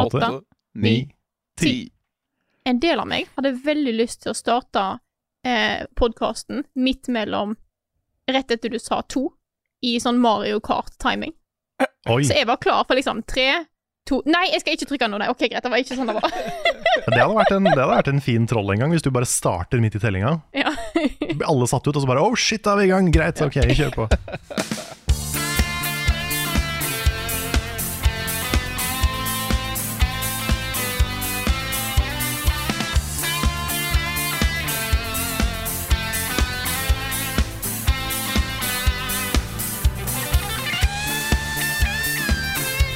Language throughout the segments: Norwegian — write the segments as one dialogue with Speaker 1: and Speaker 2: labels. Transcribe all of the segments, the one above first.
Speaker 1: Åtte,
Speaker 2: ni,
Speaker 1: ti. En del av meg hadde veldig lyst til å starte eh, podkasten midt mellom rett etter du sa to, i sånn Mario Kart-timing.
Speaker 2: Oi,
Speaker 1: Så jeg var klar for liksom tre, to Nei, jeg skal ikke trykke nå, nei. Ok, greit, det var ikke sånn det var.
Speaker 2: det hadde, vært en, det hadde vært en fin troll en gang, hvis du bare starter midt i tellinga.
Speaker 1: Ja.
Speaker 2: Så blir alle satt ut, og så bare oh shit, da er vi i gang, greit, ok, kjør på.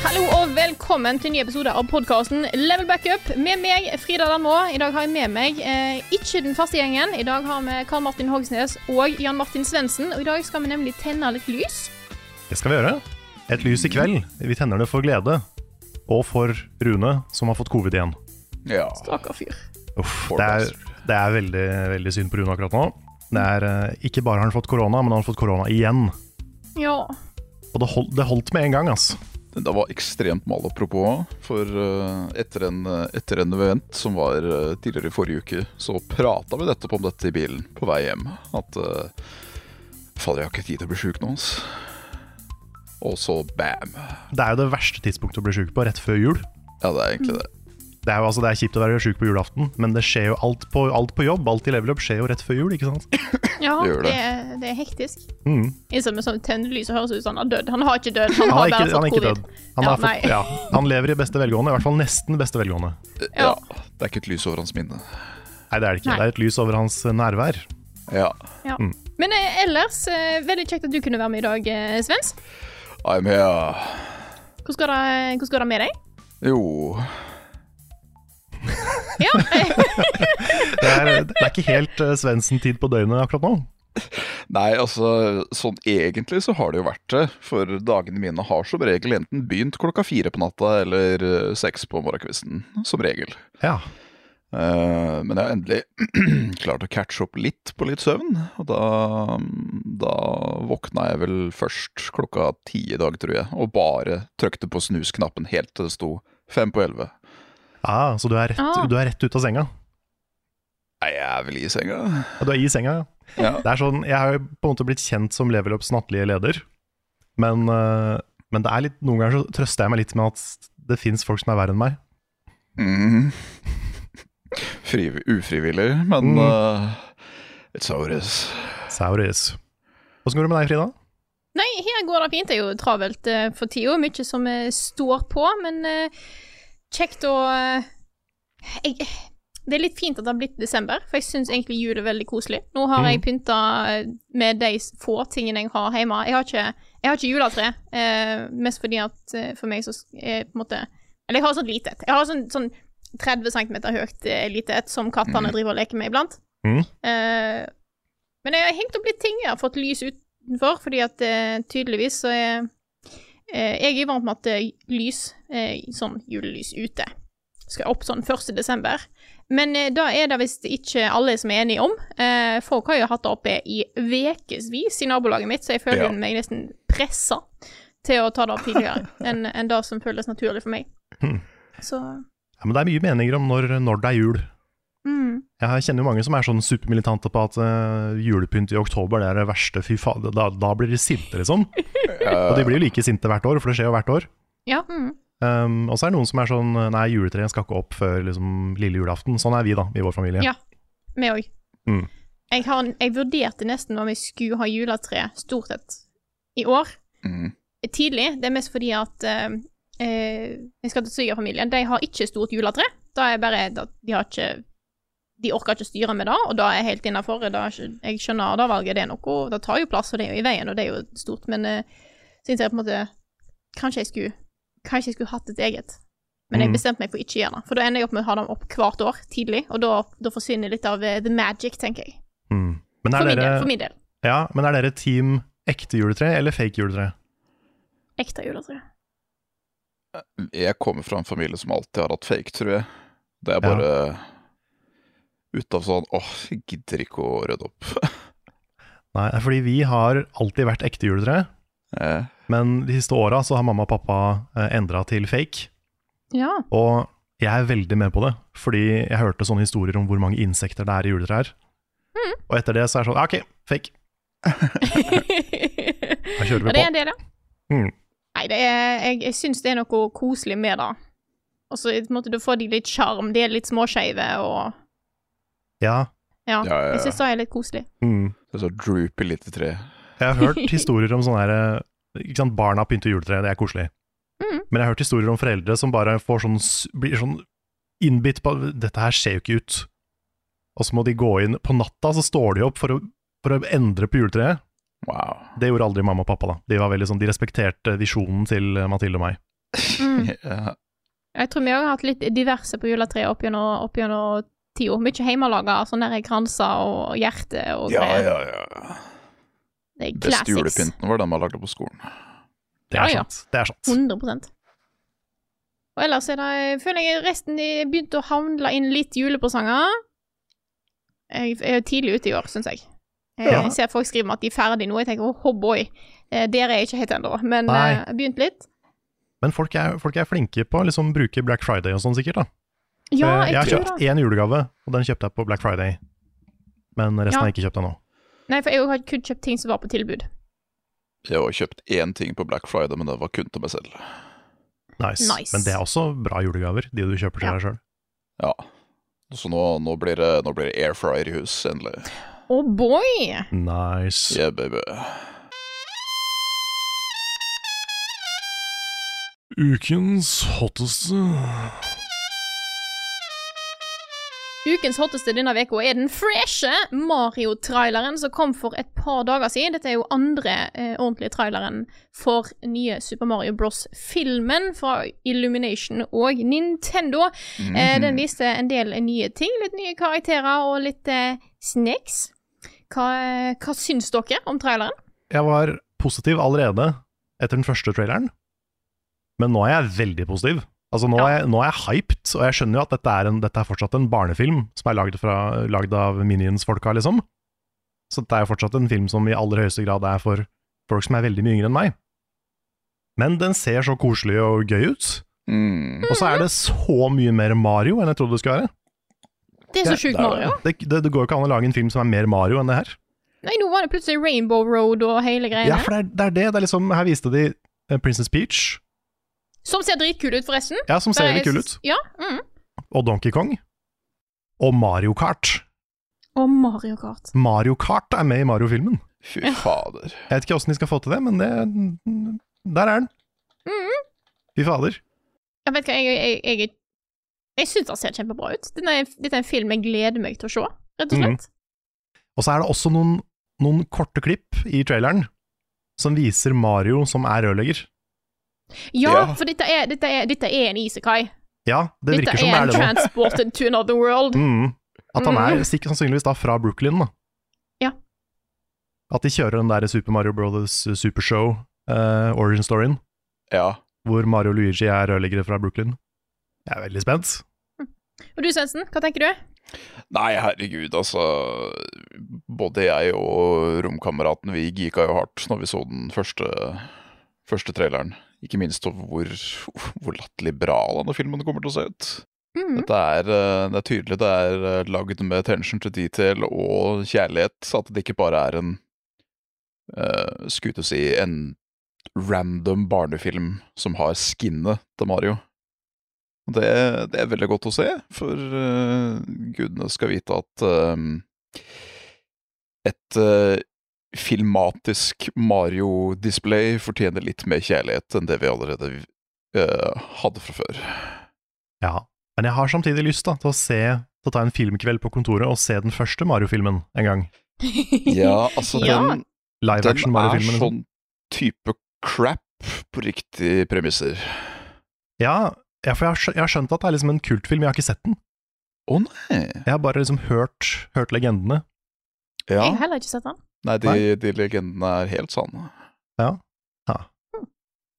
Speaker 1: Hallo og velkommen til en ny episode av podkasten Level Backup med meg, Frida Danmo. I dag har jeg med meg eh, ikke den faste gjengen. I dag har vi Karl Martin Hogsnes og Jan Martin Svendsen. Og i dag skal vi nemlig tenne litt lys.
Speaker 2: Det skal vi gjøre. Et lys i kveld. Vi tenner det for glede. Og for Rune, som har fått covid igjen.
Speaker 3: Ja.
Speaker 1: Stakkar fyr.
Speaker 2: Uff, det er, det er veldig, veldig synd på Rune akkurat nå. Det er, eh, ikke bare har han fått korona, men han har fått korona igjen.
Speaker 1: Ja.
Speaker 2: Og det holdt, det holdt med en gang, ass.
Speaker 3: Det var ekstremt malapropos. For eh, etter en, eh, etter en event som var eh, tidligere i forrige uke, så prata vi nettopp om dette i bilen på vei hjem. At eh, Fader, jeg har ikke tid til å bli sjuk nå, ass. Og så bam.
Speaker 2: Det er jo det verste tidspunktet å bli sjuk på, rett før jul.
Speaker 3: Ja, det er egentlig det.
Speaker 2: Det er jo altså, det er kjipt å være sjuk på julaften, men det skjer jo alt på, alt på jobb. Alt i level up skjer jo rett før jul, ikke sant?
Speaker 1: ja
Speaker 3: Det
Speaker 1: det,
Speaker 3: gjør det.
Speaker 1: er, det er hektisk.
Speaker 2: Mm.
Speaker 1: Innser vi sånn tenner lys og høres ut som han har dødd. Han har ikke dødd, han
Speaker 2: Han
Speaker 1: har
Speaker 2: er ikke,
Speaker 1: bare
Speaker 2: han er
Speaker 1: fått
Speaker 2: ikke
Speaker 1: covid.
Speaker 2: død. Han,
Speaker 1: Ja,
Speaker 2: har fått,
Speaker 1: nei.
Speaker 2: ja, han lever i beste velgående, i hvert fall nesten beste velgående.
Speaker 3: Eh,
Speaker 1: Ja.
Speaker 3: Ja. Det er ikke et lys over hans minne.
Speaker 2: Nei, det er det ikke. Det
Speaker 1: Nei.
Speaker 2: er et lys over hans eh, nærvær.
Speaker 3: Ja.
Speaker 2: Mm.
Speaker 1: Men eh, ellers, eh, veldig kjekt at du kunne være med i dag, eh, Svens.
Speaker 3: I'm here.
Speaker 1: Hvordan går, det, hvordan går det med deg?
Speaker 3: Jo
Speaker 1: Ja, eh,
Speaker 2: Det er, det er ikke helt eh, Svendsen-tid på døgnet akkurat nå.
Speaker 3: Nei, altså sånn egentlig så har det jo vært det. For dagene mine har som regel enten begynt klokka fire på natta eller eh, seks på morgenkvisten. Som regel.
Speaker 2: Ja.
Speaker 3: Eh, men jeg har endelig klart å catche opp litt på litt søvn. Og da, mm, da våkna jeg vel først klokka ti i dag, tror jeg. Og bare trykte på snusknappen helt til det sto fem på elleve.
Speaker 2: Ah, så du er,
Speaker 1: Ah.
Speaker 2: rett, du er rett ut av senga.
Speaker 3: Nei, jeg er vel i senga.
Speaker 2: Ja, Du er i senga, ja.
Speaker 3: Ja.
Speaker 2: Det er sånn, jeg har jo på en måte blitt kjent som Level Ups nattlige leder, men, eh, men det er litt, noen ganger så trøster jeg meg litt med at det fins folk som er verre enn meg.
Speaker 3: Mm. Fri, ufrivillig, men
Speaker 2: Mm.
Speaker 3: eh, it's how it is.
Speaker 2: Sauris. Åssen går det med deg, Frida?
Speaker 1: nei, her går det fint. Det er jo travelt eh, for tida, mye som eh, står på, men eh, kjekt å eh, jeg, Det er litt fint at det har blitt desember, for jeg syns egentlig jul er veldig koselig. Nå har jeg pynta eh, med de s- få tingene jeg har hjemme. Jeg har ikke, jeg har ikke juletre, eh, mest fordi at eh, for meg så er på en måte Eller jeg har sånn lite et. Jeg har sånn, sånn 30 cm høyt eh, lite et som kattene driver og leker med iblant.
Speaker 2: Mm.
Speaker 1: Eh, men jeg har hengt opp litt ting. Jeg har fått lys utenfor, fordi at eh, tydeligvis så er eh, Jeg er vant med at eh, lys, eh, sånn julelys ute, skal opp sånn 1. desember. Men eh, da er det visst ikke alle som er enige om. Eh, folk har jo hatt det oppe i ukevis i nabolaget mitt, så jeg føler
Speaker 3: Ja.
Speaker 1: meg nesten pressa til å ta det opp tidligere enn enn det som føles naturlig for meg.
Speaker 2: Hmm.
Speaker 1: Så
Speaker 2: Ja, men det er mye meninger om når, når det er jul.
Speaker 1: mm.
Speaker 2: Jeg kjenner jo mange som er sånn supermilitante på at eh, julepynt i oktober det er det verste, fy faen, da, da blir de sinte, liksom. Og de blir jo like sinte hvert år, for det skjer jo hvert år.
Speaker 1: Ja. Mm.
Speaker 2: Um, og så er det noen som er sånn Nei, juletreet skal ikke opp før liksom, lille julaften. Sånn er vi, da, i vår familie.
Speaker 1: Ja. Meg òg.
Speaker 2: Mm.
Speaker 1: Jeg, har- jeg vurderte nesten om jeg skulle ha juletre stort sett i år.
Speaker 3: Mm.
Speaker 1: Tidlig. Det er mest fordi at eh, eh, jeg skal til svigerfamilien. De har ikke stort juletre. Da er bare da, De har ikke De orker ikke styre med det, og da er jeg helt innafor. Jeg skjønner da valget, det er noe Det tar jo plass, og det er jo i veien, og det er jo eh, stort, men uh, syns jeg på en måte Kanskje jeg skulle Kanskje jeg skulle hatt et eget. Men jeg bestemte meg for ikke å gjøre det, for da ender jeg opp med å ha dem opp hvert år tidlig, og da, da forsvinner litt av eh, the magic, tenker jeg.
Speaker 2: Mm. Men,
Speaker 1: For
Speaker 2: er
Speaker 1: min del.
Speaker 2: dere,
Speaker 1: For min del.
Speaker 2: ja, men er dere team ekte juletre eller fake juletre?
Speaker 1: Ekte juletre.
Speaker 3: Jeg kommer fra en familie som alltid har hatt fake, tror jeg. Det er bare eh, ut av sånn åh, jeg gidder ikke å rydde opp.
Speaker 2: Nei, det er fordi vi har alltid vært ekte juletre,
Speaker 3: Eh,
Speaker 2: men de siste åra så har mamma og pappa eh, endra til fake.
Speaker 1: Ja.
Speaker 2: Og jeg er veldig med på det, fordi jeg hørte sånne historier om hvor mange insekter det er i juletrær.
Speaker 1: Mm.
Speaker 2: Og etter det så er det sånn, «Ja, ok, fake. Da kjører
Speaker 1: Ja,
Speaker 2: vi
Speaker 1: det er
Speaker 2: på.
Speaker 1: en del, ja.
Speaker 2: Mm.
Speaker 1: Nei, det er, jeg, jeg syns det er noe koselig med det. Og så på en måte, da får de litt sjarm. De er litt småskeive og
Speaker 2: Ja.
Speaker 1: Ja.
Speaker 3: ja, ja,
Speaker 1: Jeg
Speaker 3: ja.
Speaker 1: syns det er litt koselig.
Speaker 2: Mm.
Speaker 3: Det er så droopy lite tre.
Speaker 2: Jeg har hørt historier om sånne her, ikke sant, barna pynter juletre, det er koselig.
Speaker 1: Mm.
Speaker 2: Men jeg har hørt historier om foreldre som bare får sånn, s- blir sånn innbitt på Dette her ser jo ikke ut. Og så må de gå inn På natta så står de opp for å, for å endre på juletreet.
Speaker 3: Wow.
Speaker 2: Det gjorde aldri mamma og pappa, da. De var veldig sånn, de respekterte visjonen til Mathilde og meg.
Speaker 1: Mm.
Speaker 3: Ja.
Speaker 1: Jeg tror vi òg har hatt litt diverse på juletreet opp gjennom opp gjennom tida. Mye hjemmelaga sånne der kranser og hjerte og
Speaker 3: ja,
Speaker 1: greier.
Speaker 3: ja, ja.
Speaker 1: Det er
Speaker 3: Beste
Speaker 1: classics.
Speaker 3: julepynten var den man lagde på skolen.
Speaker 2: Det
Speaker 1: Ja,
Speaker 2: er
Speaker 1: ja.
Speaker 2: sant. Det er sant.
Speaker 1: 100 Og ellers er det, jeg føler jeg resten de begynte å handle inn litt julepresanger. Jeg er jo tidlig ute i år, syns jeg. Eh, Jeg
Speaker 2: Ja.
Speaker 1: ser folk skriver at de er ferdig nå. Jeg tenker oh, boy, eh, der er jeg ikke helt ennå, men
Speaker 2: Nei.
Speaker 1: eh, jeg begynte litt.
Speaker 2: Men folk er, folk er flinke på å liksom bruke Black Friday og sånn, sikkert. da.
Speaker 1: Ja,
Speaker 2: Eh,
Speaker 1: jeg,
Speaker 2: jeg har
Speaker 1: tror
Speaker 2: kjøpt
Speaker 1: det.
Speaker 2: én julegave, og den kjøpte jeg på Black Friday. Men resten
Speaker 1: Ja.
Speaker 2: har jeg ikke kjøpt ennå.
Speaker 1: Nei, for jeg har kun kjøpt ting som var på tilbud.
Speaker 3: Jeg har kjøpt én ting på Black Friday, men det var kun til meg selv.
Speaker 2: Nice.
Speaker 1: Nice.
Speaker 2: Men det er også bra julegaver, de du kjøper til
Speaker 1: Ja.
Speaker 2: deg sjøl.
Speaker 3: Ja. Så nå, nå, blir det, nå blir det air fryer i hus, endelig.
Speaker 1: Oh boy!
Speaker 2: Nice.
Speaker 3: Yeah, baby.
Speaker 2: Ukens hotteste
Speaker 1: Ukens hotteste denne veka er den freshe Mario-traileren som kom for et par dager siden. Dette er jo andre eh, ordentlige traileren for nye Super Mario Bros.-filmen fra Illumination og Nintendo. Eh, den
Speaker 2: Mhm.
Speaker 1: viste en del nye ting, litt nye karakterer og litt eh, snacks. Hva, eh, hva syns dere om traileren?
Speaker 2: Jeg var positiv allerede etter den første traileren, men nå er jeg veldig positiv. Altså Nå, er, jeg, nå er jeg hyped, og jeg skjønner jo at dette er, en, dette er fortsatt en barnefilm som er lagd, fra, lagd av Minions-folka, liksom. Så dette er jo fortsatt en film som i aller høyeste grad er for folk som er veldig mye yngre enn meg. Men den ser så koselig og gøy ut,
Speaker 3: Mm.
Speaker 2: og så er
Speaker 1: Mhm.
Speaker 2: det så mye mer Mario enn jeg trodde det skulle være.
Speaker 1: Det er så
Speaker 2: Det-
Speaker 1: sjukt
Speaker 3: det er
Speaker 1: Mario.
Speaker 2: Det, det, det går jo ikke an å lage en film som er mer Mario enn det her.
Speaker 1: Nei, nå var det plutselig Rainbow Road og hele
Speaker 2: Ja,
Speaker 1: greiene.
Speaker 2: for det er det. Er det. det er liksom, her viste de eh, Princess Peach,
Speaker 1: Som ser dritkul ut, forresten.
Speaker 2: ja, som ser veldig
Speaker 1: Bare-
Speaker 2: kul ut.
Speaker 1: Ja. Mm.
Speaker 2: og Donkey Kong. Og Mario Kart.
Speaker 1: Og Mario Kart.
Speaker 2: Mario Kart er med i Mario-filmen.
Speaker 3: Fy fader.
Speaker 2: Jeg vet ikke åssen de skal få til det, men det, der er den.
Speaker 1: Mhm.
Speaker 2: Fy fader.
Speaker 1: Jeg vet hva, jeg, jeg, jeg, jeg syns det ser kjempebra ut. Dette er, dette er en film jeg gleder meg til å se, rett
Speaker 2: Mhm.
Speaker 1: og slett.
Speaker 2: Og så er det også noen, noen korte klipp i traileren som viser Mario som er rørlegger.
Speaker 1: Ja,
Speaker 3: Ja.
Speaker 1: for dette er, dette, er, dette er en isekai.
Speaker 2: Ja, det
Speaker 1: Dette
Speaker 2: virker som
Speaker 1: er
Speaker 2: det er
Speaker 1: en
Speaker 2: det nå.
Speaker 1: transported to another world.
Speaker 2: Mhm. At han er
Speaker 1: Mhm.
Speaker 2: sikkert sannsynligvis da fra Brooklyn, da.
Speaker 1: Ja.
Speaker 2: At de kjører den der Super Mario Brothers eh, Supershow, eh, origin storyen.
Speaker 3: Ja.
Speaker 2: hvor Mario og Luigi er rørleggere fra Brooklyn. Jeg er veldig spent.
Speaker 1: Mm. Og du, Svendsen, hva tenker du?
Speaker 3: Nei, herregud, altså. Både jeg og romkameraten vi gika jo hardt når vi så den første, første traileren. Ikke minst over hvor, hvor latterlig bra denne filmen kommer til å se ut.
Speaker 1: Mhm.
Speaker 3: Dette er, eh, det er tydelig det er eh, lagd med attention to detail og kjærlighet, så at det ikke bare er en eh, Skulle til å si en random barnefilm som har skinnet til Mario. Og Det, det er veldig godt å se, for eh, gudene skal vite at eh, et eh, filmatisk Mario-display fortjener litt mer kjærlighet enn det vi allerede eh, hadde fra før.
Speaker 2: Ja. Men jeg har samtidig lyst da, til å se til å ta en filmkveld på kontoret og se den første Mario-filmen en gang.
Speaker 3: Ja, altså
Speaker 1: Ja.
Speaker 3: den
Speaker 2: Live action
Speaker 3: Den er
Speaker 2: Mario-filmen. liksom.
Speaker 3: sånn type crap på riktige premisser.
Speaker 2: Ja, ja, for jeg, har skjønt, jeg har skjønt at det er liksom en kultfilm, jeg har ikke sett den.
Speaker 3: Å nei!
Speaker 2: Jeg har bare liksom hørt, hørt legendene.
Speaker 3: Ja.
Speaker 1: Jeg har heller ikke sett den.
Speaker 3: Nei, de, de legendene er helt sanne.
Speaker 2: Ja.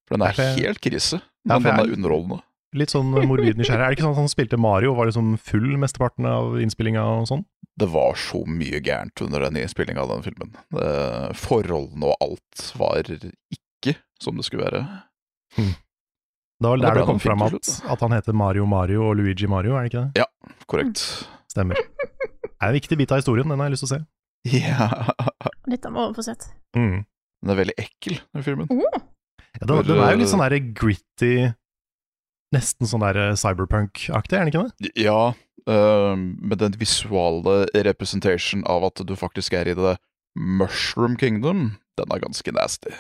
Speaker 3: For den er
Speaker 2: Derfor jeg-
Speaker 3: helt krise,
Speaker 2: Ja,
Speaker 3: men
Speaker 2: for jeg-
Speaker 3: den er underholdende.
Speaker 2: Litt sånn morbid nysgjerrig. Er det ikke sånn at han spilte Mario, var liksom full mesteparten av innspillinga og sånn?
Speaker 3: Det var så mye gærent under den innspillinga av den filmen. Eh, Forholdene og alt var ikke som det skulle være.
Speaker 2: Det var vel
Speaker 3: Ja,
Speaker 2: der
Speaker 3: det ble
Speaker 2: det kom
Speaker 3: han fin
Speaker 2: fram
Speaker 3: til
Speaker 2: at,
Speaker 3: slutt.
Speaker 2: at han heter Mario Mario og Luigi Mario, er det ikke det?
Speaker 3: Korrekt.
Speaker 2: Stemmer. Det er en viktig bit av historien, den har jeg lyst til å se.
Speaker 3: Ja.
Speaker 1: Litt av overforsett.
Speaker 2: Mm.
Speaker 3: Den er veldig ekkel, den filmen.
Speaker 1: Oh,
Speaker 2: Ja, den,
Speaker 3: Hvor,
Speaker 2: den er jo litt
Speaker 3: eh,
Speaker 2: sånn der gritty, nesten sånn der eh, cyberpunk-aktig, er den ikke det?
Speaker 3: Ja, eh, med den visuale representation av at du faktisk er i det Mushroom Kingdom, den er ganske nasty.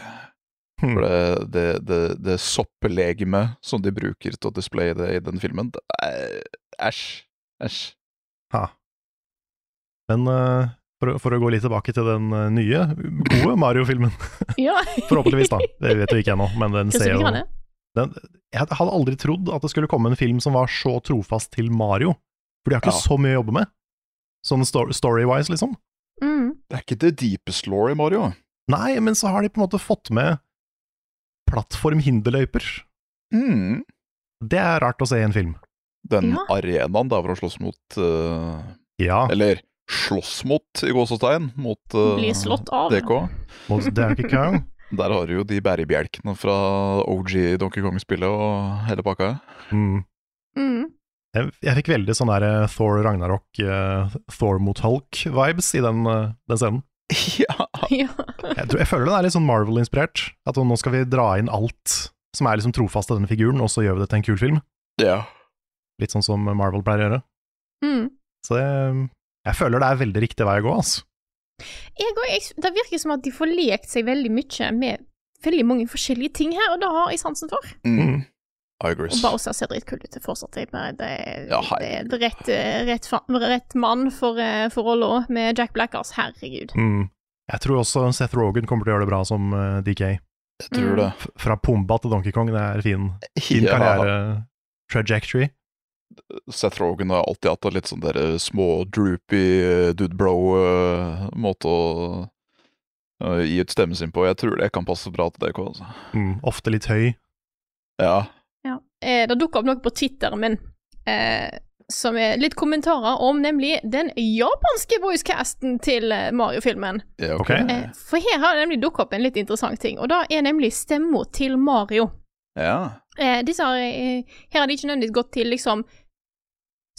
Speaker 2: Hmm.
Speaker 3: For det, det, det, det sopplegemet som de bruker til å displaye det i den filmen, det er Æsj. Æsj.
Speaker 2: Ha. Men eh, for, å- for å gå litt tilbake til den eh, nye, gode Mario-filmen,
Speaker 1: ja.
Speaker 2: forhåpentligvis, da. Det vet vi ikke ennå, men den
Speaker 1: Hva
Speaker 2: ser
Speaker 1: sier
Speaker 2: jo
Speaker 1: du?
Speaker 2: den, Jeg hadde aldri trodd at det skulle komme en film som var så trofast til Mario, for de har ikke
Speaker 3: Ja.
Speaker 2: så mye å jobbe med, sånn sto- story-wise, liksom.
Speaker 1: Mm.
Speaker 3: Det er ikke det deepest law i Mario.
Speaker 2: Nei, men så har de på en måte fått med plattformhinderløyper.
Speaker 3: Mm.
Speaker 2: Det er rart å se i en film.
Speaker 3: Den
Speaker 1: Ja.
Speaker 3: arenaen der hvor han slåss mot eh,
Speaker 2: Ja,
Speaker 3: Eller slåss mot, i gåsetegn, mot eh,
Speaker 1: Blir slått av.
Speaker 3: DK.
Speaker 2: mot Donkey Kong.
Speaker 3: Der har du jo de bærebjelkene fra OG Donkey Kong-spillet og hele pakka.
Speaker 2: Mm.
Speaker 1: Mm.
Speaker 2: Jeg, jeg fikk veldig sånn der eh, Thor Ragnarok, eh, Thor mot Hulk-vibes i den, eh, den scenen.
Speaker 3: Ja.
Speaker 1: Ja.
Speaker 2: Jeg, tror, jeg føler den er litt sånn Marvel-inspirert. At nå skal vi dra inn alt som er liksom trofast til denne figuren, og så gjør vi det til en kul film.
Speaker 3: ja.
Speaker 2: Litt sånn som Marvel pleier å gjøre.
Speaker 1: Mm.
Speaker 2: Så det, jeg føler det er veldig riktig vei å gå, altså.
Speaker 1: Jeg og jeg, det virker som at de får lekt seg veldig mye med veldig mange forskjellige ting her, og det har jeg sansen for.
Speaker 3: Mm. I
Speaker 1: Og
Speaker 3: agree.
Speaker 1: Bowser ser dritkul ut fortsatt. Jeg bare, det,
Speaker 3: Ja,
Speaker 1: det er et rett, eh, rett, fa- rett mann for, eh, for rolla med Jack Blackers, herregud.
Speaker 2: Mm. Jeg tror også Seth Rogan kommer til å gjøre det bra som eh, DK.
Speaker 3: Jeg tror det.
Speaker 2: F- Fra Pumba til Donkey Kong, det er fin, fin
Speaker 3: Ja.
Speaker 2: karriere-trajectory.
Speaker 3: Seth Rogan har alltid hatt en litt sånn der små droopy eh, dude bro-måte å eh, gi ut stemmen sin på. Jeg tror det kan passe bra til DK. Altså.
Speaker 2: Mm. Ofte litt høy.
Speaker 3: Ja.
Speaker 1: Ja. Eh, det dukka opp noe på Twitteren min eh, som er litt kommentarer om nemlig den japanske voicecasten til eh, Mario-filmen.
Speaker 3: ja
Speaker 2: Ok.
Speaker 1: Eh, for her har det nemlig dukka opp en litt interessant ting, og det er nemlig stemma til Mario.
Speaker 3: Ja.
Speaker 1: Eh, disse har, eh, her har de ikke nødvendigvis gått til liksom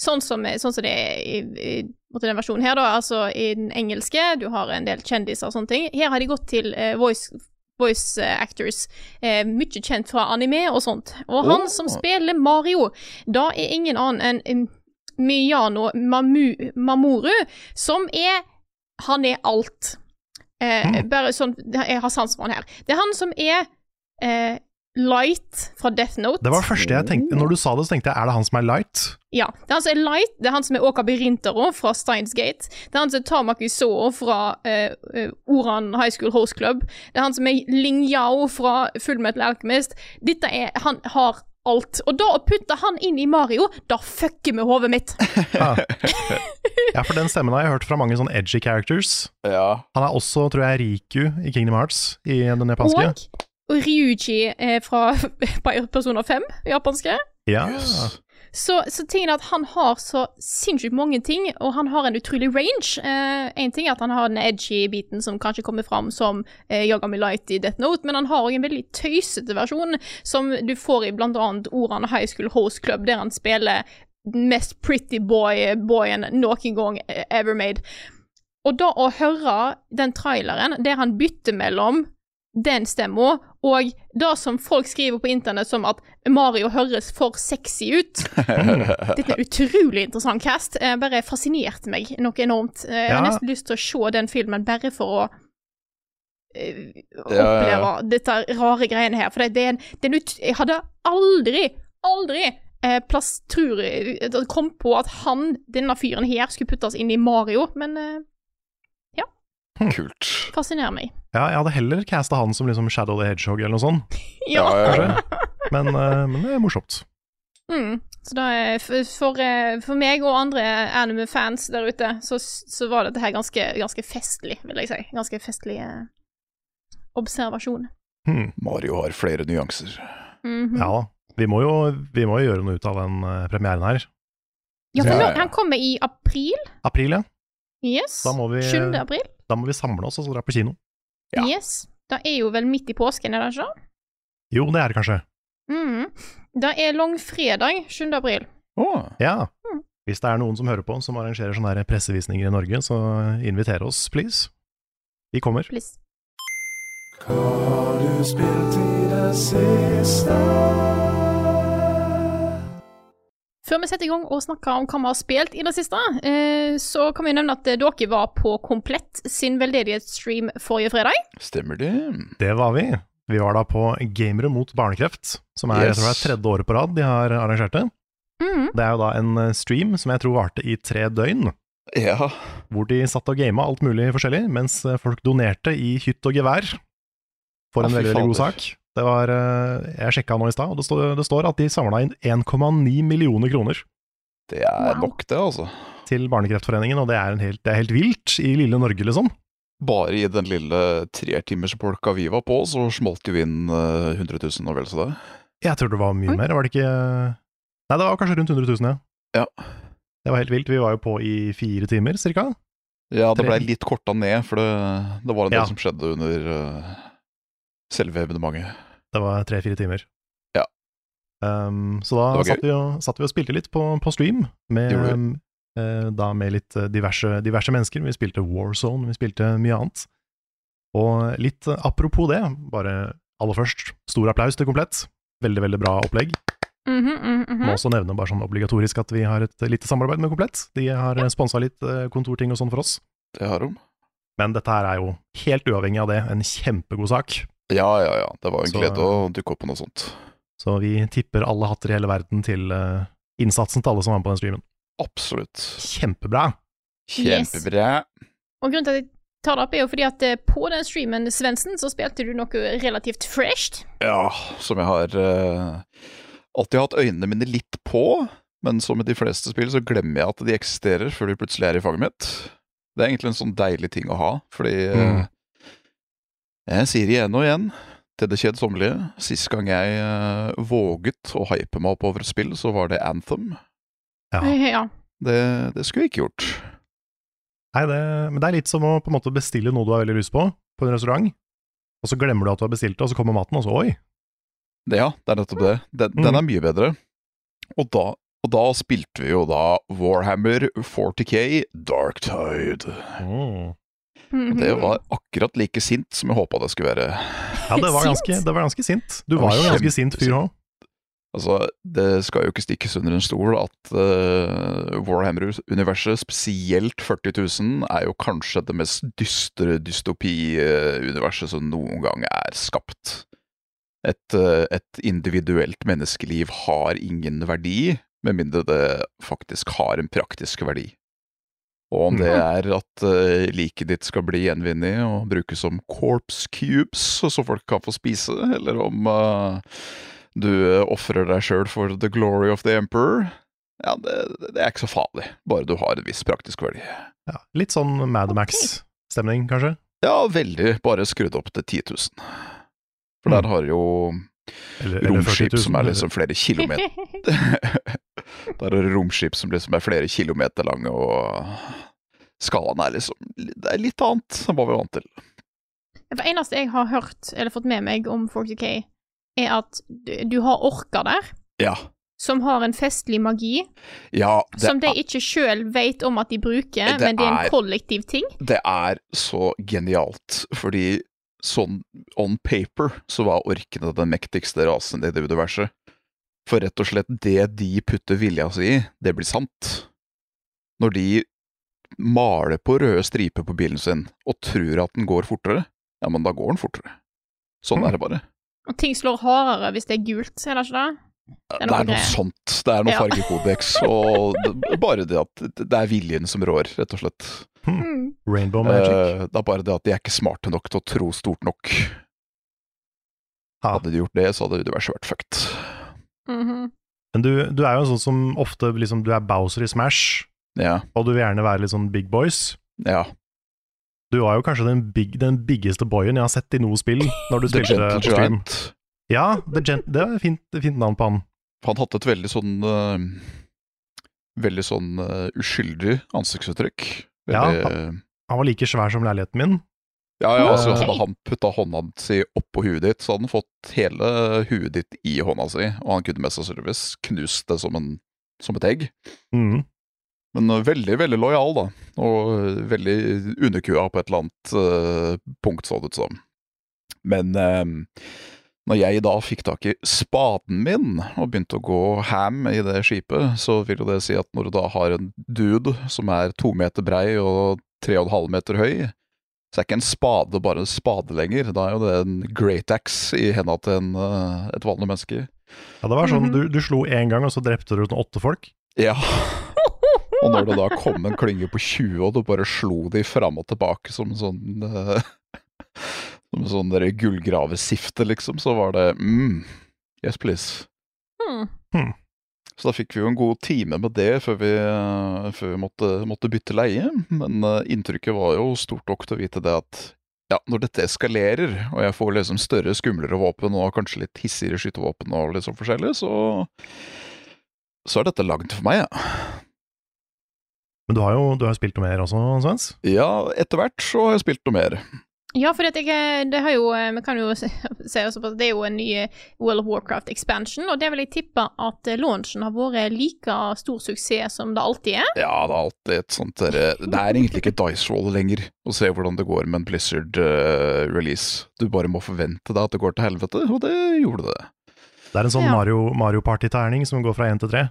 Speaker 1: sånn som, sånn som det er i, i måtte den versjonen her, da. Altså i den engelske, du har en del kjendiser og sånne ting. Her har de gått til eh, voice, voice eh, actors. Eh, mye kjent fra anime og sånt. Og han
Speaker 3: Åh.
Speaker 1: som spiller Mario, da er ingen annen enn en Miyano Mamu, Mamoru, som er Han er alt. Eh,
Speaker 2: Hmm.
Speaker 1: Bare sånn Jeg har sans for han her. Det er han som er eh, Light fra Death Note.
Speaker 2: Det var det første jeg tenkte Når du sa det, så tenkte jeg er det han som er light?
Speaker 1: Ja. Det er han som er Light, det er han som er Åkabi Rintaro fra Steins Gate. Det er han som er Tamaki Soo fra eh, eh, Oran High School Host Club. Det er han som er Ling Yao fra Full Metal Alchemist. Dette er Han har alt. Og da å putte han inn i Mario, da fucker med hodet mitt.
Speaker 2: Ja. ja, for den stemmen har jeg hørt fra mange sånn edgy characters.
Speaker 3: ja.
Speaker 2: Han er også, tror jeg, Riku i Kingdom Hearts, i den japanske.
Speaker 1: Og, og Ryuji eh, fra Personer 5, japanske.
Speaker 2: Ja.
Speaker 3: Yes.
Speaker 1: Så, så tingen er at han har så sinnssykt mange ting, og han har en utrolig range. Én ting er at han har den edgy biten som kanskje kommer fram som eh, Yagami Light i Death Note, men han har òg en veldig tøysete versjon som du får i blant annet ordene High School Host Club, der han spiller den mest pretty boy-boyen noen gang eh, ever made. Og da å høre den traileren der han bytter mellom den stemma og det som folk skriver på internett som at Mario høres for sexy ut Dette er en utrolig interessant cast. Eh, bare fascinerte meg noe enormt. Eh, Jeg har
Speaker 2: Ja.
Speaker 1: nesten lyst til å se den filmen bare for å eh,
Speaker 3: Ja, ja,
Speaker 1: oppleve
Speaker 3: ja.
Speaker 1: dette rare greiene her. For det, det er en, det er en ut Jeg hadde aldri, aldri eh, plass, tror jeg, eh, kom på at han, denne fyren her, skulle puttes inn i Mario, men eh,
Speaker 3: Kult.
Speaker 1: fascinerer meg.
Speaker 2: ja, jeg hadde heller casta han som liksom Shadow the Hedgehog eller noe sånt,
Speaker 1: Ja.
Speaker 2: kanskje. Men, eh, men det er morsomt.
Speaker 1: Mm. Så da, eh, for, for, eh, for meg og andre anime-fans der ute, så, så var dette her ganske, ganske festlig, vil jeg si. Ganske festlig eh, observasjon.
Speaker 2: Hmm.
Speaker 3: Mario har flere nyanser.
Speaker 1: Mhm.
Speaker 2: Ja da. Vi må, jo, vi må jo gjøre noe ut av den eh, premieren her.
Speaker 1: Ja, for
Speaker 3: Ja,
Speaker 1: nå,
Speaker 3: ja.
Speaker 1: han kommer i april.
Speaker 2: April, ja.
Speaker 1: Yes.
Speaker 2: Da må vi,
Speaker 1: 7. april.
Speaker 2: da må vi samle oss og så dra på kino.
Speaker 3: ja.
Speaker 1: Yes. Det er jo vel midt i påsken, er det ikke? det?
Speaker 2: Jo, det er det kanskje.
Speaker 1: Mhm. Det er langfredag 7. april.
Speaker 3: Åh,
Speaker 2: Ja.
Speaker 1: Mm.
Speaker 2: Hvis det er noen som hører på, som arrangerer sånne her pressevisninger i Norge, så inviter oss, please. Vi kommer.
Speaker 1: Please. Før vi setter i gang og snakker om hva vi har spilt i det siste, eh, så kan vi nevne at eh, dere var på Komplett sin veldedighetsstream forrige fredag.
Speaker 3: stemmer det?
Speaker 2: Det var vi. Vi var da på Gamere mot barnekreft, som er jeg tror det
Speaker 3: Yes.
Speaker 2: er tredje året på rad de har arrangert det.
Speaker 1: Mhm.
Speaker 2: Det er jo da en eh, stream som jeg tror varte i tre døgn,
Speaker 3: Ja.
Speaker 2: hvor de satt og gama alt mulig forskjellig, mens eh, folk donerte i hytt og gevær for
Speaker 3: Ja,
Speaker 2: en
Speaker 3: fy
Speaker 2: veldig, veldig god
Speaker 3: fader.
Speaker 2: sak. Det var, eh, Jeg sjekka nå i stad, og det står, det står at de samla inn 1,9 millioner kroner
Speaker 3: Det er
Speaker 1: Wow.
Speaker 3: nok, det, altså.
Speaker 2: til Barnekreftforeningen, og det er, en helt, det er helt vilt i lille Norge, liksom.
Speaker 3: Bare i den lille tretimersbolka vi var på, så smalt jo inn eh, 100 000 og vel så det.
Speaker 2: Jeg tror det var mye
Speaker 1: Oi.
Speaker 2: mer, var det ikke Nei, det var kanskje rundt 100 000, ja.
Speaker 3: Ja.
Speaker 2: Det var helt vilt. Vi var jo på i fire timer, cirka.
Speaker 3: Ja, det
Speaker 2: Tre.
Speaker 3: blei litt korta ned, for det, det var en del
Speaker 2: Ja.
Speaker 3: som skjedde under eh, selve evenementet.
Speaker 2: Det var tre-fire timer.
Speaker 3: Ja.
Speaker 2: Um, så da
Speaker 3: Det var
Speaker 2: satt vi, og, satt vi og spilte litt på, på stream, med,
Speaker 3: Gjorde vi.
Speaker 2: um, eh, da med litt eh, diverse, diverse mennesker. Vi spilte Warzone, vi spilte mye annet. Og litt eh, apropos det, bare aller først, stor applaus til Komplett. Veldig, veldig bra opplegg.
Speaker 1: Mhm, mhm, mhm.
Speaker 2: Må også nevne bare sånn obligatorisk at vi har et eh, lite samarbeid med Komplett. De har sponsa litt eh, kontorting og sånn for oss.
Speaker 3: Det har de.
Speaker 2: Men dette her er jo, helt uavhengig av det, en kjempegod sak.
Speaker 3: Ja, ja, ja. Det var en
Speaker 2: Så-
Speaker 3: glede å dukke opp på noe sånt.
Speaker 2: Så vi tipper alle hatter i hele verden til eh, innsatsen til alle som var med på den streamen.
Speaker 3: Absolutt.
Speaker 2: Kjempebra!
Speaker 1: Yes.
Speaker 3: Kjempebra.
Speaker 1: Og grunnen til at jeg tar det opp, er jo fordi at eh, på den streamen, Svendsen, så spilte du noe relativt fresht.
Speaker 3: Ja, som jeg har eh, alltid hatt øynene mine litt på. Men som med de fleste spill, så glemmer jeg at de eksisterer før de plutselig er i fanget mitt. Det er egentlig en sånn deilig ting å ha, fordi eh, Jeg sier igjen og igjen, til det kjedsommelige, sist gang jeg eh, våget å hype meg opp over et spill, så var det Anthem.
Speaker 2: Ja.
Speaker 1: Ja.
Speaker 3: Det, det skulle jeg ikke gjort.
Speaker 2: Nei, det, men det er litt som å på en måte bestille noe du har veldig lyst på, på en restaurant. Og så glemmer du at du har bestilt det, og så kommer maten, og så oi!
Speaker 3: Det, ja, det er nettopp det. Den, den er mye bedre. Og da, og da spilte vi jo da Warhammer 40K Dark Tide.
Speaker 1: Mm-hmm.
Speaker 3: Og Det
Speaker 1: Mhm.
Speaker 3: var akkurat like sint som jeg håpa det skulle være.
Speaker 2: Ja, det var, ganske,
Speaker 1: Sint.
Speaker 2: det var ganske sint. Du
Speaker 3: Det
Speaker 2: var
Speaker 3: var
Speaker 2: jo en ganske
Speaker 3: kjempe-
Speaker 2: sint fyr òg.
Speaker 3: Altså, Det skal jo ikke stikkes under en stol at eh, Warhammer-universet, spesielt 40 000, er jo kanskje det mest dystre dystopi-universet som noen gang er skapt. Et, eh, et individuelt menneskeliv har ingen verdi, med mindre det faktisk har en praktisk verdi. Og om det er at uh, liket ditt skal bli gjenvunnet og brukes som corpse cubes, så folk kan få spise, eller om eh, du uh, ofrer deg sjøl for the glory of the emperor, ja, det, det er ikke så farlig, bare du har en viss praktisk verdi.
Speaker 2: Ja, litt sånn Mad Max-stemning, kanskje.
Speaker 3: Ja, veldig, bare skrudd opp til 10 000. For der har jo
Speaker 2: Eller, eller 40
Speaker 3: romskip
Speaker 2: 000,
Speaker 3: som er
Speaker 2: eller-
Speaker 3: liksom flere kilometer Der er det romskip som liksom er flere kilometer lange, og skalaen er liksom Det er litt annet enn hva vi er vant til.
Speaker 1: Det eneste jeg har hørt, eller fått med meg om 40K, er at du, du har orker der,
Speaker 3: Ja.
Speaker 1: som har en festlig magi,
Speaker 3: Ja, det,
Speaker 1: som de
Speaker 3: er,
Speaker 1: ikke sjøl vet om at de bruker,
Speaker 3: Det
Speaker 1: men det er
Speaker 3: er-
Speaker 1: en kollektiv ting.
Speaker 3: det er så genialt, fordi sånn on paper så var orkene den mektigste rasen i det universet. For rett og slett det de putter vilja si i, det blir sant. Når de maler på røde striper på bilen sin og tror at den går fortere, ja, men da går den fortere. Sånn
Speaker 1: Mm.
Speaker 3: er det bare.
Speaker 1: Og ting slår hardere hvis det er gult, er det ikke det?
Speaker 3: Det
Speaker 1: er
Speaker 3: er
Speaker 1: noe
Speaker 3: noe
Speaker 1: greier.
Speaker 3: sånt. Det er noe
Speaker 1: Ja.
Speaker 3: fargekodeks, og det, bare det at det er viljen som rår, rett og slett.
Speaker 1: Mm.
Speaker 2: Rainbow Magic.
Speaker 3: Eh, det er bare det at de er ikke smarte nok til å tro stort nok.
Speaker 2: Ja.
Speaker 3: Hadde de gjort det, så hadde det vært svært fucked.
Speaker 1: Mhm.
Speaker 2: Men du, du er jo en sånn som ofte liksom, Du er Bowser i Smash,
Speaker 3: Ja.
Speaker 2: og du vil gjerne være litt sånn big boys.
Speaker 3: ja.
Speaker 2: Du var jo kanskje den, big, den biggeste boyen jeg har sett i noe spill. Når du
Speaker 3: The
Speaker 2: spilte
Speaker 3: Gentle
Speaker 2: på stream.
Speaker 3: Giant.
Speaker 2: Ja, The Gent det var et fint, fint navn på han.
Speaker 3: Han hadde et veldig sånn eh, Veldig sånn eh, uskyldig ansiktsuttrykk. Veldig,
Speaker 2: Ja, Han var like svær som leiligheten min.
Speaker 3: Ja, ja, altså,
Speaker 2: Ok.
Speaker 3: hadde han putta hånda si oppå huet ditt, så hadde han fått hele huet ditt i hånda si, og han kunne mest sannsynligvis knust det som, en, som et egg.
Speaker 2: Mm.
Speaker 3: Men eh, veldig, veldig lojal, da, og eh, veldig underkua på et eller annet eh, punkt, så det ut som. Men eh, når jeg da fikk tak i spaden min og begynte å gå ham i det skipet, så vil jo det si at når du da har en dude som er to meter brei og tre og en halv meter høy, så er ikke en spade bare en spade lenger. Da er jo det en great axe i henda til en, eh, et vanlig menneske.
Speaker 2: Ja, det var sånn,
Speaker 1: Mhm.
Speaker 2: du, du slo én gang, og så drepte du sånn åtte folk.
Speaker 3: Ja. Og når det da kom en klynge på 20, og du bare slo de fram og tilbake som en sånn eh, Som en sånn der gullgravesifte, liksom, så var det mm, Yes, please.
Speaker 1: Hmm.
Speaker 3: Så da fikk vi jo en god time med det før vi, eh, før vi måtte, måtte bytte leie. Men eh, inntrykket var jo stort nok til å vite det at ja, når dette eskalerer, og jeg får liksom større, skumlere våpen og kanskje litt hissigere skytevåpen og litt sånn forskjellig, så så er dette lagd for meg, ja.
Speaker 2: Men du har jo du har jo spilt noe mer også, Svens.
Speaker 3: Ja, etter hvert så har jeg spilt noe mer.
Speaker 1: Ja, for det har jo eh, Vi kan jo se se også på at det er jo en ny eh, World of Warcraft-expansion, og det vil jeg tippe at eh, launchen har vært like stor suksess som det alltid er.
Speaker 3: Ja, det er alltid et sånt derre Det er egentlig ikke dice roll lenger å se hvordan det går med en Blizzard eh, release. Du bare må forvente deg at det går til helvete, og det gjorde det.
Speaker 2: Det er en sånn
Speaker 1: Ja.
Speaker 2: Mario, Mario Party-terning som går fra én til tre.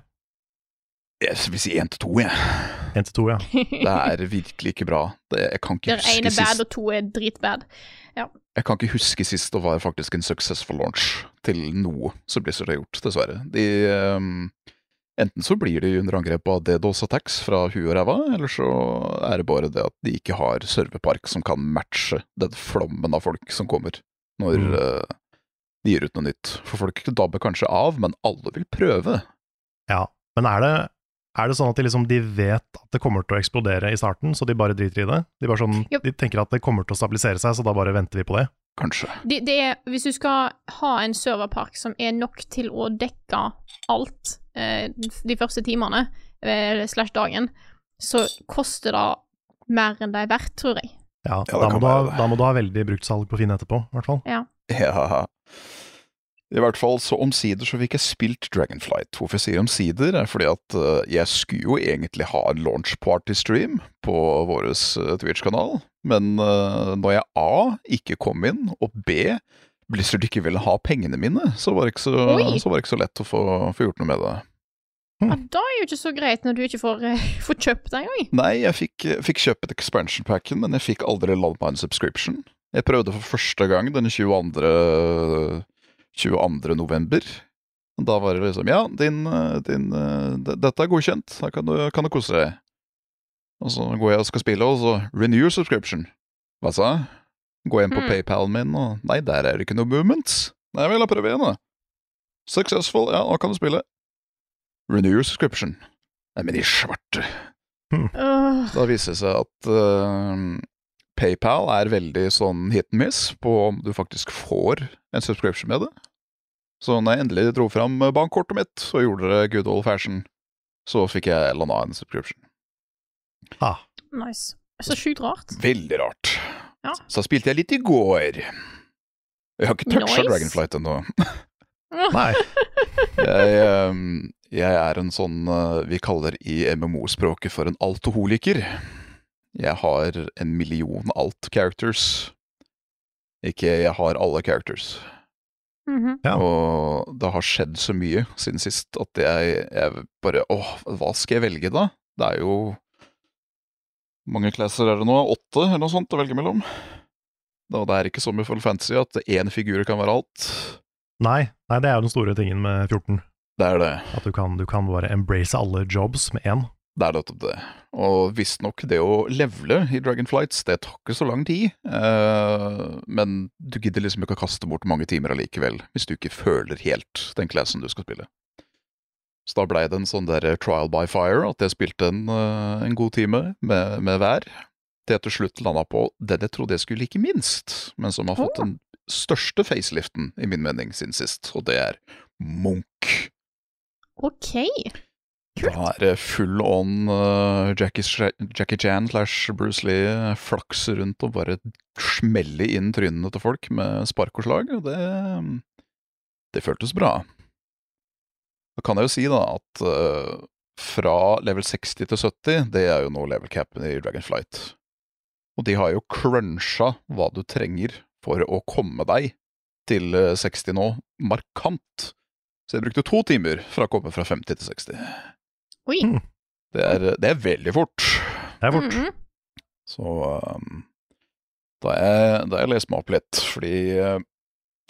Speaker 3: Jeg vil si én til to, jeg.
Speaker 2: Én til to, ja.
Speaker 3: Det er virkelig ikke bra. Det, jeg, kan ikke
Speaker 1: Der én
Speaker 3: huske
Speaker 1: er bad,
Speaker 3: sist,
Speaker 1: og to er dritbad.
Speaker 3: jeg kan ikke huske sist det var faktisk en successful launch til noe som Blizzard har gjort, dessverre. De, ehm, enten så blir de under angrep av DDoS attacks fra huet og ræva, eller så er det bare det at de ikke har serverpark som kan matche den flommen av folk som kommer når
Speaker 2: Mm.
Speaker 3: eh, de gir ut noe nytt. For folk dabber kanskje av, men alle vil prøve.
Speaker 2: ja. Men er det, er det sånn at de, liksom, de vet at det kommer til å eksplodere i starten, så de bare driter i det? De, bare sånn,
Speaker 1: Jo.
Speaker 2: de tenker at det kommer til å stabilisere seg, så da bare venter vi på det.
Speaker 3: Kanskje.
Speaker 1: Det, det er, hvis du skal ha en serverpark som er nok til å dekke alt eh, de første timene eh, slash dagen, så koster det mer enn det er verdt, tror jeg.
Speaker 2: Ja,
Speaker 3: det
Speaker 2: da,
Speaker 3: kan
Speaker 2: må du ha,
Speaker 3: være det.
Speaker 2: da må du ha veldig bruktsalg på Finn etterpå, i hvert fall.
Speaker 3: Ja. I hvert fall så omsider så fikk jeg spilt Dragonflight. Hvorfor jeg sier omsider, er fordi at eh, jeg skulle jo egentlig ha en launch party stream på vår eh, Twitch-kanal, men eh, når jeg A ikke kom inn, og B Blizzard ikke ville ha pengene mine, så var det ikke så,
Speaker 1: Oi.
Speaker 3: så, var det ikke så lett å få, få gjort noe med det.
Speaker 1: Ja,
Speaker 2: Mm.
Speaker 1: da er jo ikke så greit når du ikke får, eh, får kjøpt det engang.
Speaker 3: Nei, jeg fikk, eh, fikk kjøpt expansion packen, men jeg fikk aldri landa en subscription. Jeg prøvde for første gang den 22. 22. november. Da var det liksom Ja, din, eh, din eh, d- Dette er godkjent, da kan du, kan du kose deg. Og så går jeg og skal spille, og så Renew subscription. Hva sa jeg? Gå inn på
Speaker 1: Hmm.
Speaker 3: PayPalen min, og Nei, der er det ikke noe movements. Nei vel, da prøver jeg igjen, da. Successful, ja, nå kan du spille. Renew subscription. Nei, men i svarte
Speaker 1: Øh,
Speaker 3: da viser det seg at eh, PayPal er veldig sånn hit and miss på om du faktisk får en subscription med det. Så når jeg endelig dro fram bankkortet mitt og gjorde det good old fashion, så fikk jeg landa en subscription.
Speaker 2: Ah,
Speaker 1: nice. Så sjukt rart.
Speaker 3: Veldig rart.
Speaker 1: Ja.
Speaker 3: Så spilte jeg litt i går. Jeg har ikke toucha
Speaker 1: Nice.
Speaker 3: Dragonflight ennå.
Speaker 2: nei.
Speaker 3: Jeg, eh, jeg er en sånn eh, vi kaller i MMO-språket for en altoholiker. Jeg har en million alt-characters. Ikke jeg har alle characters.
Speaker 1: Mhm.
Speaker 2: Ja.
Speaker 3: Og det har skjedd så mye siden sist at jeg, jeg bare Åh, hva skal jeg velge, da? Det er jo Hvor mange classer er det nå? Åtte, eller noe sånt, å velge mellom? Da, det er ikke som i Full Fantasy at én figur kan være alt.
Speaker 2: nei. Nei, det er jo den store tingen med 14.
Speaker 3: Det er det.
Speaker 2: At du kan, du kan bare embrace alle jobs med én.
Speaker 3: Det er nettopp det. Og visstnok det å levele i Dragonflights, det tar ikke så lang tid. eh, men du gidder liksom ikke å kaste bort mange timer allikevel, hvis du ikke føler helt den classen du skal spille. Så da blei det en sånn der trial by fire, at jeg spilte en, eh, en god time med, med hver. Til jeg til slutt landa på den jeg trodde jeg skulle like minst, men som har fått den største faceliften, i min mening, siden sist, og det er Munch.
Speaker 1: OK.
Speaker 3: Da er det full on eh, Jackie, Sha- Jackie Chan slash Bruce Lee flakse rundt og bare smelle inn trynene til folk med spark og slag. og Det, mm, det føltes bra. Da kan jeg jo si da at eh, fra level 60 til 70, det er jo nå level capen i Dragonflight. Og de har jo cruncha hva du trenger for å komme deg til eh, 60 nå, markant. Så jeg brukte to timer fra å komme fra 50 til 60.
Speaker 1: Oi.
Speaker 2: Mm.
Speaker 3: Det er, det er veldig fort.
Speaker 2: Det er fort.
Speaker 1: Mhm.
Speaker 3: Så um, da har jeg, da har jeg lest meg opp litt, fordi eh,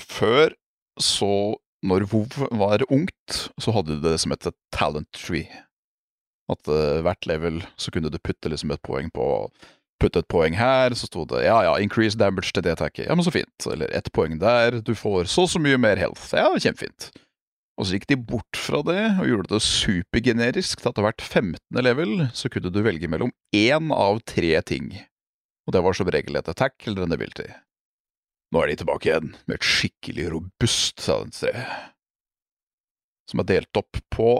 Speaker 3: før så når WoW var ungt, så hadde de det som het et talent tree. At eh, hvert level så kunne du putte liksom et poeng på Putte et poeng her, så sto det ja ja, increase damage til det tacket. Ja, men så fint. Eller ett poeng der, du får så og så mye mer health. Ja, kjempefint. Og så gikk de bort fra det og gjorde det supergenerisk til at hvert 15. level så kunne du velge mellom én av tre ting. Og det var som regel et attack eller en ability. Nå er de tilbake igjen med et skikkelig robust Silence 3, som er delt opp på